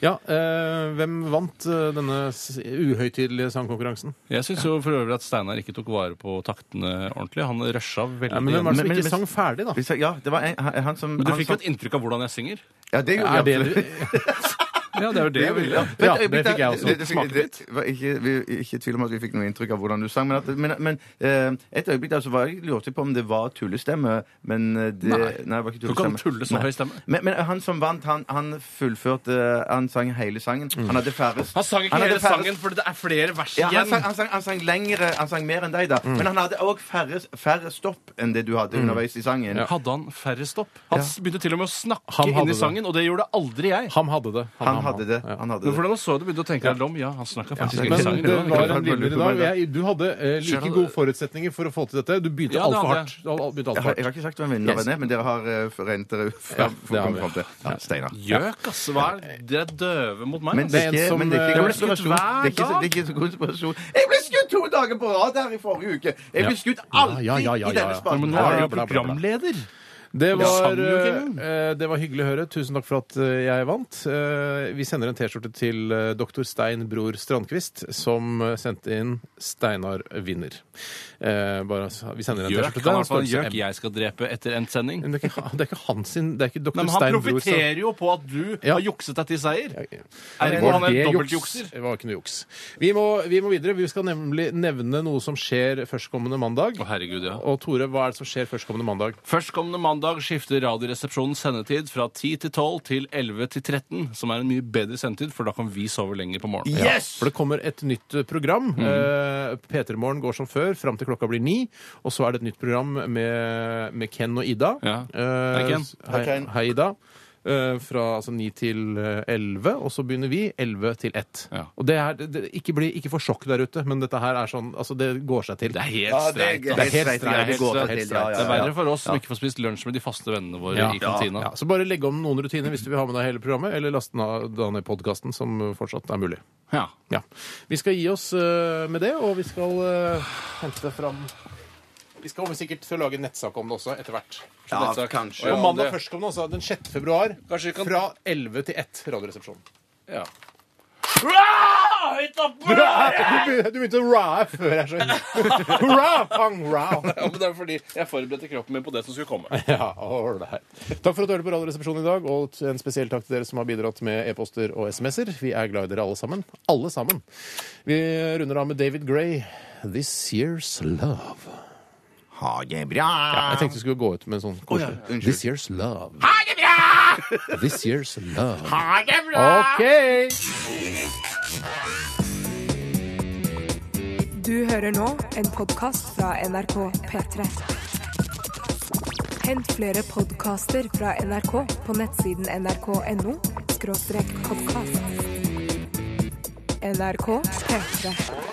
B: ja eh, hvem vant eh, denne s- uhøytidelige sangkonkurransen?
C: Jeg syns jo for øvrig at Steinar ikke tok vare på taktene ordentlig. Han rusha veldig.
B: Ja, men hvem var det som
D: men-
B: ikke sang
D: men-
B: ferdig, da?
D: Vi sa- Ja, det var en, han, han som
C: Men du
D: han
C: fikk
D: som-
C: jo et inntrykk av hvordan jeg synger.
D: Ja, det gjorde
B: Er
D: vi
B: det
D: absolutt.
B: du
C: Ja, det er jo det jeg ville.
D: Vent,
B: Ja, det
D: øyeblikk,
B: fikk jeg også.
D: det- det fikk-
B: Smakte
D: det var Ikke, vi, ikke i tvil om at vi fikk noe inntrykk av hvordan du sang, men, at, men, men eh, et øyeblikk der så var jeg lurte jeg på om det var tullestemme, men eh, det,
C: Nei.
D: nei, det var ikke
C: Du kan
D: tullestemme.
C: tulle så
D: Nei.
C: høy stemme.
D: Men, men han som vant, han, han fullførte eh, Han sang hele sangen. Han hadde færrest
C: Mm. Han sang ikke
D: han hadde
C: hele
D: færrest-
C: sangen, for det er flere vers
D: Ja, han,
C: igjen. Mm.
D: sang, han, sang, han sang lengre, han sang mer enn deg, da. Men han hadde òg færre, færre stopp enn det du hadde underveis i sangen.
C: Hadde han færre stopp? Han s- begynte til og med å snakke
B: Han hadde
C: inn i
B: det.
C: sangen, og det gjorde aldri jeg.
B: Han hadde det.
D: Han hadde det. Han hadde
C: Men
D: det.
C: Hvordan han så det, begynte å tenke deg om. Ja, han snakka faktisk ikke i
D: men-
B: Men
C: sangen.
B: det
C: Det var
B: var
C: ikke-
B: en vinner i dag. Jeg, du hadde eh, like
C: Skjønner du-
B: gode forutsetninger for å få til dette. Du begynte
C: Ja, det
B: altfor
C: hadde
B: hardt. Du al- begynte alt for
D: Jeg har,
B: hardt.
D: jeg har ikke sagt hvem vinneren er, men dere har uh, regnet dere ut. fra-
B: Ja, det har vi.
D: fram til. Ja, Steinar.
C: Gjøk, ass! Hva er det er døve mot meg?
D: Men
C: ass.
D: det
B: er
D: er
B: en
D: ikke,
B: som,
D: men det er
B: eh,
D: ikke
B: ble
C: skutt
D: konspirasjon.
C: hver
D: Det er ikke,
C: dag.
D: det er ikke så konspirasjon. Jeg ble skutt to dager på rad her i forrige uke! Jeg ble skutt alltid
B: Ja, ja, ja, ja,
D: i
B: ja.
D: denne
C: Men
D: spalten.
C: nå er du
B: Bla, bla,
C: jo
B: bla, bla.
C: programleder.
B: Det
C: sang
B: var,
C: jo ikke engang.
B: eh, det var hyggelig å høre. Tusen takk for at eh, jeg vant. Eh, Vi sender en T-skjorte til eh, doktor Stein Bror Strandquist, som eh, sendte inn 'Steinar vinner'. Eh, Bare, altså, vi sender en
C: Gjøk
B: T-skjorte
C: kan i hvert fall
B: størrelse M.
C: gjøk jeg skal drepe etter endt sending.
B: Men Det er ikke, det er ikke han sin Det er ikke
C: Nei,
B: doktor
C: men han
B: Stein Bror Strand-
C: profitterer jo på at du
B: Ja.
C: har jukset deg til seier.
B: Var
C: Ergo han er
B: det
C: en
B: juks?
C: dobbeltjukser.
B: Det var ikke noe juks. Vi må, vi må videre. Vi skal nemlig nevne noe som skjer førstkommende mandag.
C: Å, herregud, ja.
B: Og Tore, hva er det som skjer førstkommende mandag?
C: Førstkommende mandag skifter Radioresepsjonens sendetid fra 10 til 12 til 11 til 13, som er en mye bedre sendetid, for da kan vi sove lenger på morgenen.
D: Yes!
B: For det kommer et nytt program.
C: Mm.
B: Eh, P3 Morgen går som før fram til klokka blir ni. Og så er det et nytt program med, med Ken og Ida.
C: Ja.
B: Eh,
C: Hei, Ken.
D: Hei, Ken.
B: Hei, Ida. Eh, fra altså, 9 til eh, 11, og så begynner vi 11 til 1.
C: Ja.
B: Og det er, det, ikke, bli, ikke for sjokk der ute, men dette her er sånn Altså, det går seg til.
C: Det er
D: Ja,
C: helt
D: det er
C: streit. ass.
D: helt
B: helt
D: streit,
B: streit.
D: ja, det går
B: Helt
D: til,
B: streit.
D: ja, ja,
C: Det er
D: ja.
C: verre for oss som ikke får spist lunsj med de faste vennene våre
B: Ja.
C: i kantina.
B: Ja, så bare legge om noen rutiner hvis du vil ha med deg hele programmet, eller laste ned- da ned podkasten, som fortsatt er mulig.
C: Ja.
B: Ja. Vi skal gi oss eh, med det, og vi skal eh, hente fram Vi skal sikkert til å lage en nettsak om det også, etter hvert.
D: Ja,
C: Nettsak.
D: kanskje.
B: Og mandag førstkommende, altså den 6. februar,
C: Kanskje vi kan-
B: fra 11 til 1, Radioresepsjonen.
C: Ja. Hurra! Høyt oppe!
B: Du begynte å raa før jeg skjønner. Hurra, pang, ra.
C: Ja, men det er fordi jeg forberedte kroppen min på det som skulle komme.
B: Ja, all right. Takk for at du hørte på Radioresepsjonen i dag, og en spesiell takk til dere som har bidratt med e-poster og SMS-er. Vi er glad i dere alle sammen. Alle sammen. Vi runder av med David Gray, 'This Year's Love'.
D: Ha det bra!
B: Jeg tenkte vi skulle gå ut med en sånn koselig
D: Unnskyld.
B: This Year's Love. This Year's Love.
D: Ha det bra!
B: OK!
A: Du hører nå en podkast fra NRK P3. Hent flere podkaster fra NRK på nettsiden nrk.no podkast. NRK P3.